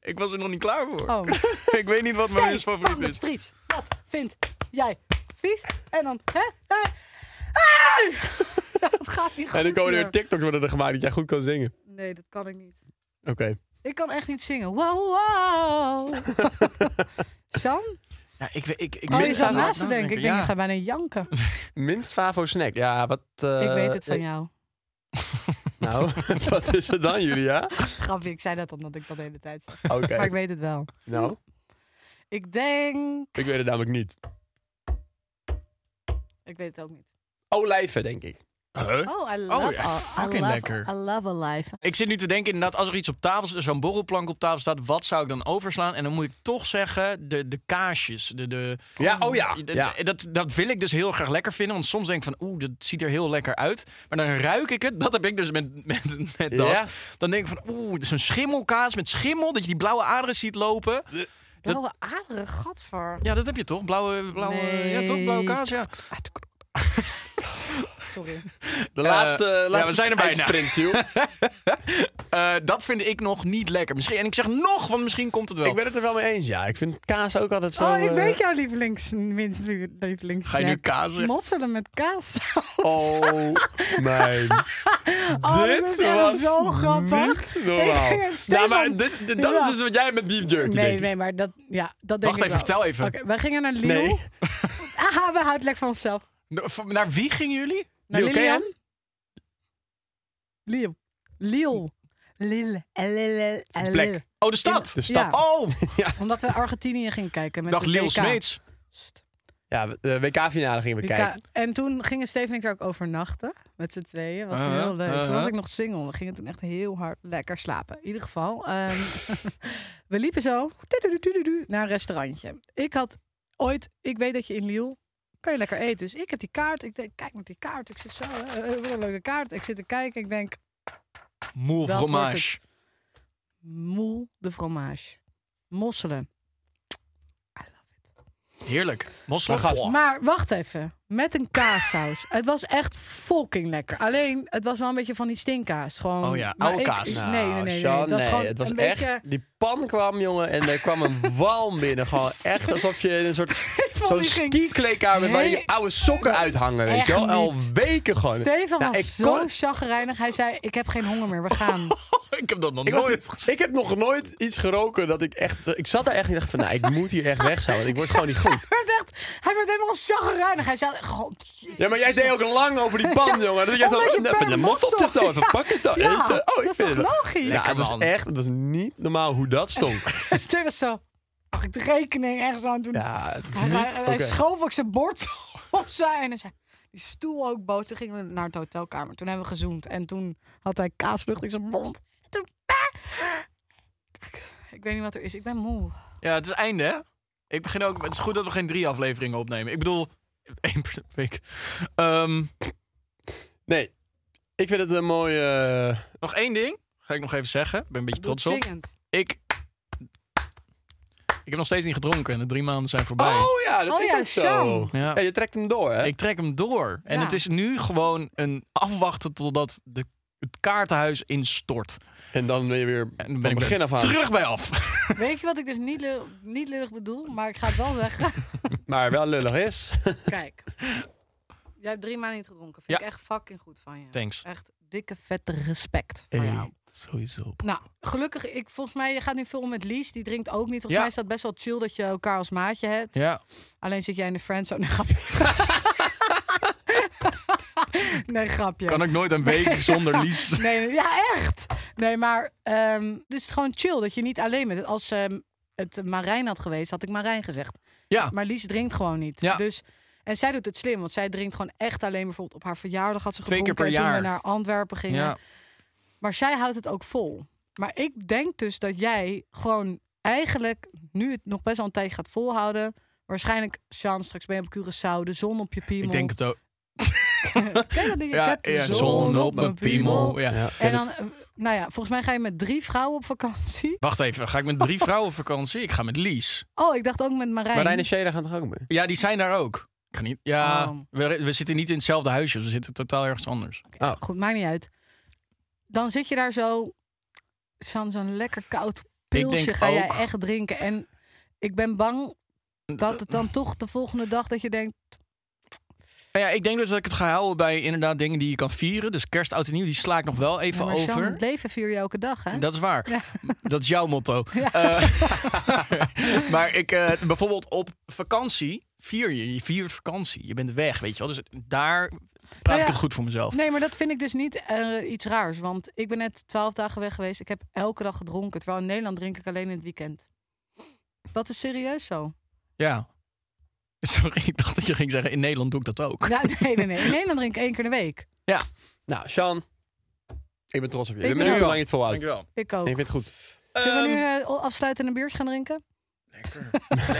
[SPEAKER 1] Ik was er nog niet klaar voor.
[SPEAKER 2] Oh,
[SPEAKER 1] [laughs] Ik weet niet wat mijn
[SPEAKER 2] Steve
[SPEAKER 1] minst
[SPEAKER 2] van
[SPEAKER 1] favoriet
[SPEAKER 2] de
[SPEAKER 1] is.
[SPEAKER 2] Vries, wat vind jij vies? En dan, hè? hè? Ai! [laughs] Dat gaat niet goed
[SPEAKER 3] En dan komen er weer
[SPEAKER 2] hier.
[SPEAKER 3] TikToks worden er gemaakt dat jij goed kan zingen.
[SPEAKER 2] Nee, dat kan ik niet.
[SPEAKER 3] Oké.
[SPEAKER 2] Ik kan echt niet zingen. Wow, wow. Sam,
[SPEAKER 1] Ja, ik, weet- ik, ik nou
[SPEAKER 2] Oh, je
[SPEAKER 3] Minst
[SPEAKER 2] zat
[SPEAKER 3] aan
[SPEAKER 2] naast te denken. Ik denk,
[SPEAKER 1] ja.
[SPEAKER 2] ik ga bijna janken.
[SPEAKER 3] Minst favo snack. Ja, wat... eh,
[SPEAKER 2] ik weet het van
[SPEAKER 3] eh,
[SPEAKER 2] jou.
[SPEAKER 3] Nou, [laughs] wat is het dan,
[SPEAKER 2] [laughs]
[SPEAKER 3] Julia?
[SPEAKER 2] Grapje, ik zei dat omdat ik dat de hele tijd zeg.
[SPEAKER 3] Oké,
[SPEAKER 2] Maar ik weet het wel.
[SPEAKER 3] nou.
[SPEAKER 2] Ik denk...
[SPEAKER 3] Ik weet het namelijk niet.
[SPEAKER 2] Ik weet het ook niet.
[SPEAKER 3] Olijven, denk ik.
[SPEAKER 1] Huh?
[SPEAKER 2] Oh, I love...
[SPEAKER 1] ja,
[SPEAKER 2] a- I
[SPEAKER 1] fucking
[SPEAKER 2] love,
[SPEAKER 1] lekker.
[SPEAKER 2] I love a life.
[SPEAKER 1] Ik zit nu te denken inderdaad, als er iets op tafel staat, zo'n borrelplank op tafel staat, wat zou ik dan overslaan? En dan moet ik toch zeggen, de, de kaasjes. De, de,
[SPEAKER 3] Ja, oh ja,
[SPEAKER 1] De-
[SPEAKER 3] ja.
[SPEAKER 1] de- Dat, dat wil ik dus heel graag lekker vinden, want soms denk ik van, oeh, dat ziet er heel lekker uit. Maar dan ruik ik het, dat heb ik dus met, met, met dat.
[SPEAKER 3] Ja.
[SPEAKER 1] Dan denk ik van, oeh, dat is een schimmelkaas met schimmel, dat je die blauwe aderen ziet lopen.
[SPEAKER 2] Blauwe aderen, gadver.
[SPEAKER 1] Ja, dat heb je toch? Blauwe, blauwe, ja, toch?
[SPEAKER 2] Nee.
[SPEAKER 1] blauwe kaas, ja.
[SPEAKER 2] [laughs] Sorry.
[SPEAKER 3] De laatste,
[SPEAKER 1] Eh, ja, we
[SPEAKER 3] laatste
[SPEAKER 1] zijn er bijna.
[SPEAKER 3] sprint,
[SPEAKER 1] [laughs] Eh, dat vind ik nog niet lekker. Misschien, en ik zeg nog, want misschien komt het wel.
[SPEAKER 3] Ik ben het er wel mee eens, ja. Ik vind kaas ook altijd zo...
[SPEAKER 2] Oh, ik
[SPEAKER 3] eh,
[SPEAKER 2] weet jouw lievelings... Minst lievelings. eh,
[SPEAKER 1] Ga je nu kaas zeggen?
[SPEAKER 2] Mosselen met kaas.
[SPEAKER 3] [laughs]
[SPEAKER 2] [laughs]
[SPEAKER 3] Oh, mijn...
[SPEAKER 2] Oh, dit
[SPEAKER 3] dit
[SPEAKER 2] is echt
[SPEAKER 3] was
[SPEAKER 2] zo grappig.
[SPEAKER 3] niet normaal.
[SPEAKER 2] Ik-
[SPEAKER 3] nou,
[SPEAKER 2] Stefan-
[SPEAKER 3] maar dit, dit- dat is
[SPEAKER 2] Ja.
[SPEAKER 3] dus wat jij met beef jerky
[SPEAKER 2] Nee,
[SPEAKER 3] denkt.
[SPEAKER 2] nee, maar dat, ja, dat denk
[SPEAKER 1] Wacht
[SPEAKER 2] ik
[SPEAKER 1] even,
[SPEAKER 2] wel.
[SPEAKER 1] vertel even.
[SPEAKER 2] Oké, wij gingen naar Lille.
[SPEAKER 3] Nee.
[SPEAKER 2] [laughs] Aha, we houden lekker van onszelf.
[SPEAKER 1] Na- van- Naar wie gingen jullie?
[SPEAKER 2] Naar
[SPEAKER 1] Lil, ken je hem?
[SPEAKER 2] Lilian. Lille. Lille. Lille. Eh, Lille. eh,
[SPEAKER 3] De
[SPEAKER 2] Lille.
[SPEAKER 3] plek.
[SPEAKER 1] Oh, de stad.
[SPEAKER 3] De stad.
[SPEAKER 2] Ja.
[SPEAKER 1] Oh,
[SPEAKER 2] Omdat we Argentinië gingen kijken met
[SPEAKER 1] dacht
[SPEAKER 2] de
[SPEAKER 1] Lil
[SPEAKER 2] WK.
[SPEAKER 1] Smeets.
[SPEAKER 2] Sst.
[SPEAKER 3] Ja, eh, de WK-finale gingen we
[SPEAKER 2] WK.
[SPEAKER 3] kijken.
[SPEAKER 2] En toen gingen Steven en ik daar ook overnachten met z'n tweeën. Was
[SPEAKER 1] Uh-huh,
[SPEAKER 2] heel leuk. Toen
[SPEAKER 1] uh-huh.
[SPEAKER 2] was ik nog single. We gingen toen echt heel hard lekker slapen. In ieder geval, ehm, [laughs] we liepen zo tudududududu, naar een restaurantje. Ik had ooit, ik weet dat je in Lille kan je lekker eten. Dus ik heb die kaart. Ik denk, kijk met die kaart. Ik zit zo, hè, eh, wat een leuke kaart. Ik zit te kijken. Ik denk,
[SPEAKER 1] Moe
[SPEAKER 2] Dat wordt
[SPEAKER 1] fromage.
[SPEAKER 2] moel de fromage. Mosselen. I love it.
[SPEAKER 1] Heerlijk. Mosselen.
[SPEAKER 3] Maar gast,
[SPEAKER 1] Boah.
[SPEAKER 2] Maar wacht even. Met een kaassaus. het was echt fucking lekker. Alleen, het was wel een beetje van die stinkkaas. Gewoon,
[SPEAKER 1] Oh ja,
[SPEAKER 2] maar
[SPEAKER 1] oude
[SPEAKER 2] ik-
[SPEAKER 1] kaas.
[SPEAKER 2] Nee, nee, nee. nee.
[SPEAKER 3] Sean,
[SPEAKER 2] Het was, eh, gewoon een
[SPEAKER 3] echt...
[SPEAKER 2] beetje...
[SPEAKER 3] Die pan kwam, jongen, en er kwam
[SPEAKER 2] [laughs]
[SPEAKER 3] een walm binnen. Gewoon echt alsof je in een soort... Zo'n
[SPEAKER 2] die ging-
[SPEAKER 3] ski-kleedkamer waar je
[SPEAKER 2] Nee.
[SPEAKER 3] oude sokken uithangen, weet je wel?
[SPEAKER 2] Echt
[SPEAKER 3] Al
[SPEAKER 2] niet.
[SPEAKER 3] weken gewoon.
[SPEAKER 2] Stefan
[SPEAKER 3] Nou,
[SPEAKER 2] was
[SPEAKER 3] ik
[SPEAKER 2] zo
[SPEAKER 3] kon-
[SPEAKER 2] chagrijnig. Hij zei, ik heb geen honger meer. We
[SPEAKER 3] [laughs]
[SPEAKER 2] gaan.
[SPEAKER 1] ik heb dat nog
[SPEAKER 3] Ik, was-
[SPEAKER 1] nooit.
[SPEAKER 3] ik heb nog nooit iets geroken dat ik echt... Ik zat daar echt en dacht van, nou, ik moet hier echt weg zijn, want ik word gewoon niet goed.
[SPEAKER 2] hij, werd echt, hij werd helemaal chagrijnig. Hij zei, gewoon...
[SPEAKER 3] Ja, maar jij deed ook lang over die
[SPEAKER 2] [laughs]
[SPEAKER 3] pan, jongen. Dat jij zo,
[SPEAKER 2] Omdat je
[SPEAKER 3] nou, van de
[SPEAKER 2] per
[SPEAKER 3] mot op
[SPEAKER 2] mossel-
[SPEAKER 3] de stoel, even
[SPEAKER 2] Ja.
[SPEAKER 3] pak het dan
[SPEAKER 2] Ja,
[SPEAKER 3] eten.
[SPEAKER 2] dat
[SPEAKER 3] Oh, ik
[SPEAKER 2] is
[SPEAKER 3] vind
[SPEAKER 2] toch
[SPEAKER 3] het-
[SPEAKER 2] logisch?
[SPEAKER 3] Ja, het was
[SPEAKER 1] man.
[SPEAKER 3] echt, het was niet normaal hoe dat
[SPEAKER 2] [laughs]
[SPEAKER 3] stond.
[SPEAKER 2] Stefan was zo... Mag ik de rekening ergens aan doen?
[SPEAKER 3] Ja, het is
[SPEAKER 2] hij,
[SPEAKER 3] niet...
[SPEAKER 2] hij, hij
[SPEAKER 3] oké.
[SPEAKER 2] schoof ook zijn bord [laughs] opzij en hij zei... Die stoel ook boos. Toen gingen we naar de hotelkamer. Toen hebben we gezoend. En toen had hij kaaslucht in zijn mond. En toen... Ik weet niet wat er is. Ik ben moe.
[SPEAKER 1] Ja, het is einde, hè? Ik begin ook... Het is goed dat we geen drie afleveringen opnemen. Ik bedoel... [laughs] één per week. Ehm,
[SPEAKER 3] Nee, ik vind het een mooie... eh,
[SPEAKER 1] nog één ding. Ga ik nog even zeggen. Ik ben een beetje trots op.
[SPEAKER 2] Zingend.
[SPEAKER 1] Ik... Ik heb nog steeds niet gedronken en de drie maanden zijn voorbij.
[SPEAKER 3] Oh ja, dat
[SPEAKER 2] Oh
[SPEAKER 3] is
[SPEAKER 2] ja,
[SPEAKER 3] ook zo.
[SPEAKER 2] Sam.
[SPEAKER 1] Ja.
[SPEAKER 3] Ja, je trekt hem door, hè?
[SPEAKER 1] Ik trek hem door. En
[SPEAKER 2] Ja.
[SPEAKER 1] het is nu gewoon een afwachten totdat de, het kaartenhuis instort.
[SPEAKER 3] En dan ben je weer
[SPEAKER 1] En dan
[SPEAKER 3] van
[SPEAKER 1] ben ik
[SPEAKER 3] begin
[SPEAKER 1] er
[SPEAKER 3] af aan.
[SPEAKER 1] terug bij af.
[SPEAKER 2] Weet je wat ik dus niet, lul- niet lullig bedoel? Maar ik ga het wel
[SPEAKER 1] [laughs]
[SPEAKER 2] zeggen.
[SPEAKER 3] Maar wel lullig is.
[SPEAKER 2] Kijk. Jij hebt drie maanden niet gedronken. Vind
[SPEAKER 1] Ja.
[SPEAKER 2] ik echt fucking goed van je.
[SPEAKER 1] Thanks.
[SPEAKER 2] Echt dikke, vette respect voor jou.
[SPEAKER 1] Sowieso.
[SPEAKER 2] Nou, gelukkig, ik, volgens mij, je gaat nu veel om met Lies. Die drinkt ook niet. Volgens
[SPEAKER 1] Ja.
[SPEAKER 2] mij is dat best wel chill dat je elkaar als maatje hebt.
[SPEAKER 1] [laughs] Ja.
[SPEAKER 2] Alleen zit jij in de friendzone. Nee, grapje. [laughs] nee, grapje.
[SPEAKER 1] Kan ik nooit een week
[SPEAKER 2] [laughs]
[SPEAKER 1] zonder Lies.
[SPEAKER 2] Nee, nee, ja, echt. Nee, maar ehm, het is gewoon chill dat je niet alleen bent. Als ehm, het Marijn had geweest, had ik Marijn gezegd.
[SPEAKER 1] Ja.
[SPEAKER 2] Maar Lies drinkt gewoon niet.
[SPEAKER 1] Ja.
[SPEAKER 2] Dus, en zij doet het slim, want zij drinkt gewoon echt alleen. Bijvoorbeeld op haar verjaardag had ze
[SPEAKER 1] Twee keer
[SPEAKER 2] gedronken.
[SPEAKER 1] per
[SPEAKER 2] en Toen
[SPEAKER 1] jaar.
[SPEAKER 2] we naar Antwerpen gingen.
[SPEAKER 1] Ja.
[SPEAKER 2] Maar zij houdt het ook vol. Maar ik denk dus dat jij gewoon eigenlijk, nu het nog best wel een tijdje gaat volhouden... Waarschijnlijk, Sean, straks ben je op Curaçao, de zon op je piemel.
[SPEAKER 1] Ik denk het ook.
[SPEAKER 2] Ken je dat niet? Ik heb de zon, op mijn piemel.
[SPEAKER 1] Ja.
[SPEAKER 2] En dan, eh, nou ja, volgens mij ga je met drie vrouwen op vakantie.
[SPEAKER 1] Wacht even, ga ik met drie vrouwen op vakantie? Ik ga met Lies.
[SPEAKER 2] Oh, ik dacht ook met Marijn.
[SPEAKER 3] Marijn en Sheda gaan toch ook mee?
[SPEAKER 1] Ja, die zijn daar ook. Ik Kan niet. Ja,
[SPEAKER 2] Oh.
[SPEAKER 1] we, we zitten niet in hetzelfde huisje, we zitten totaal ergens anders.
[SPEAKER 2] Goed, maakt niet uit. Dan zit je daar zo van zo'n lekker koud
[SPEAKER 1] denk
[SPEAKER 2] pilsje ga jij
[SPEAKER 1] ook-
[SPEAKER 2] echt drinken. En ik ben bang dat het dan toch de volgende dag dat je denkt...
[SPEAKER 1] Nou ja, ik denk dus dat ik het ga houden bij inderdaad dingen die je kan vieren. Dus kerst, oud en nieuw, die sla ik nog wel even
[SPEAKER 2] maar Sean,
[SPEAKER 1] over.
[SPEAKER 2] het leven vier je elke dag, hè?
[SPEAKER 1] Dat is waar.
[SPEAKER 2] Ja.
[SPEAKER 1] [laughs] Dat is jouw motto. Eh, [laughs] maar ik, eh, bijvoorbeeld op vakantie vier je. Je viert vakantie. Je bent weg, weet je wel. Dus daar praat
[SPEAKER 2] Nou ja,
[SPEAKER 1] ik het goed voor mezelf.
[SPEAKER 2] Nee, maar dat vind ik dus niet eh, iets raars. Want ik ben net twaalf dagen weg geweest. Ik heb elke dag gedronken. Terwijl in Nederland drink ik alleen in het weekend. Dat is serieus zo.
[SPEAKER 1] Ja. [laughs] Sorry, ik dacht dat je ging zeggen, in Nederland doe ik dat ook.
[SPEAKER 2] Ja, [laughs] nee, nee, nee. In Nederland drink ik één keer in de week.
[SPEAKER 1] Ja,
[SPEAKER 3] Nou, Sean, ik ben trots op je.
[SPEAKER 2] Ik
[SPEAKER 3] Ik ben
[SPEAKER 2] ben
[SPEAKER 3] benieuwd
[SPEAKER 2] ook.
[SPEAKER 3] hoe lang je het volhoudt.
[SPEAKER 1] dankjewel.
[SPEAKER 2] Ik ook.
[SPEAKER 3] Ik vind het goed.
[SPEAKER 2] Zullen we nu
[SPEAKER 1] Ehm.
[SPEAKER 2] eh, afsluiten en een biertje gaan drinken?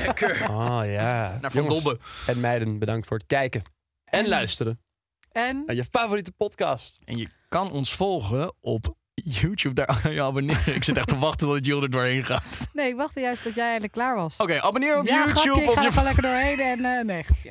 [SPEAKER 1] Lekker.
[SPEAKER 3] Oh ja.
[SPEAKER 1] Naar Van
[SPEAKER 3] Jongens
[SPEAKER 1] Dobbe.
[SPEAKER 3] En meiden, bedankt voor het kijken en luisteren
[SPEAKER 2] En
[SPEAKER 3] naar je favoriete podcast.
[SPEAKER 1] En je kan ons volgen op YouTube. Daar kan je abonneren. Ik zit echt te wachten tot Jill er doorheen gaat.
[SPEAKER 2] nee, ik wachtte juist tot jij eigenlijk klaar was.
[SPEAKER 1] Oké, abonneer Oh, op
[SPEAKER 2] ja,
[SPEAKER 1] YouTube.
[SPEAKER 2] grapje, ik
[SPEAKER 1] op
[SPEAKER 2] ga
[SPEAKER 1] je...
[SPEAKER 2] er gewoon lekker doorheen. En, eh, nee,
[SPEAKER 1] [laughs]
[SPEAKER 2] grapje.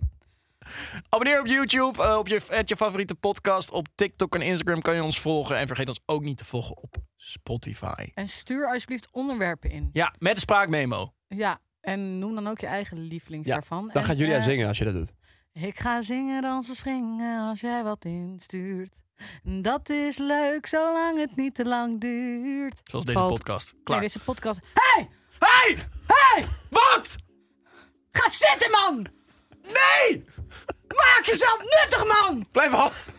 [SPEAKER 1] Abonneer op YouTube, eh, op je, at je favoriete podcast. Op TikTok en Instagram kan je ons volgen. En vergeet ons ook niet te volgen op Spotify.
[SPEAKER 2] en stuur alsjeblieft onderwerpen in.
[SPEAKER 1] Ja, met de spraakmemo.
[SPEAKER 2] Ja, en noem dan ook je eigen lievelings
[SPEAKER 3] Ja,
[SPEAKER 2] daarvan.
[SPEAKER 3] Dan
[SPEAKER 2] En,
[SPEAKER 3] gaat Julia
[SPEAKER 2] eh,
[SPEAKER 3] zingen als je dat doet.
[SPEAKER 2] Ik ga zingen, dansen, springen als jij wat instuurt. Dat is leuk, zolang het niet te lang duurt.
[SPEAKER 1] Zoals deze
[SPEAKER 2] Valt-
[SPEAKER 1] podcast. Klaar.
[SPEAKER 2] Nee, deze podcast. Hey!
[SPEAKER 1] Hey!
[SPEAKER 2] Hey!
[SPEAKER 1] Wat?
[SPEAKER 2] Ga zitten, man!
[SPEAKER 1] Nee!
[SPEAKER 2] Maak jezelf nuttig, man!
[SPEAKER 1] Blijf af.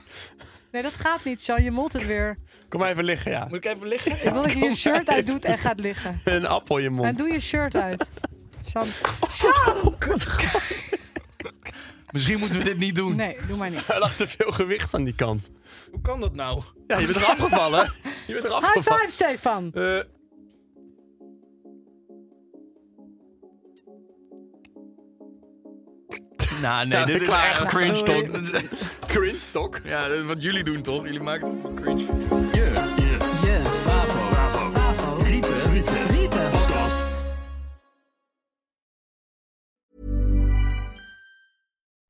[SPEAKER 2] Nee, dat gaat niet, Sean. Je molt het weer.
[SPEAKER 3] Kom maar even liggen, ja.
[SPEAKER 1] Moet ik even liggen?
[SPEAKER 2] Ik wil dat je je shirt uitdoet en gaat liggen.
[SPEAKER 3] Met [laughs] een appel in je mond.
[SPEAKER 2] En doe je shirt
[SPEAKER 1] [laughs]
[SPEAKER 2] uit. Sean,
[SPEAKER 1] Misschien moeten we dit niet doen.
[SPEAKER 2] nee, doe maar niet.
[SPEAKER 3] Er lag te veel gewicht aan die kant.
[SPEAKER 1] Hoe kan dat nou?
[SPEAKER 3] Ja, je bent eraf gevallen. Je bent eraf
[SPEAKER 2] High
[SPEAKER 3] gevallen.
[SPEAKER 2] five, Stefan!
[SPEAKER 3] Eh,
[SPEAKER 1] Nou,
[SPEAKER 3] [laughs]
[SPEAKER 1] nee,
[SPEAKER 3] Ja,
[SPEAKER 1] dit is
[SPEAKER 3] klaar. Oh,
[SPEAKER 1] echt cringe
[SPEAKER 2] Doei.
[SPEAKER 1] talk. [laughs] cringe talk? Ja, dat is wat jullie doen toch? Jullie maken toch cringe.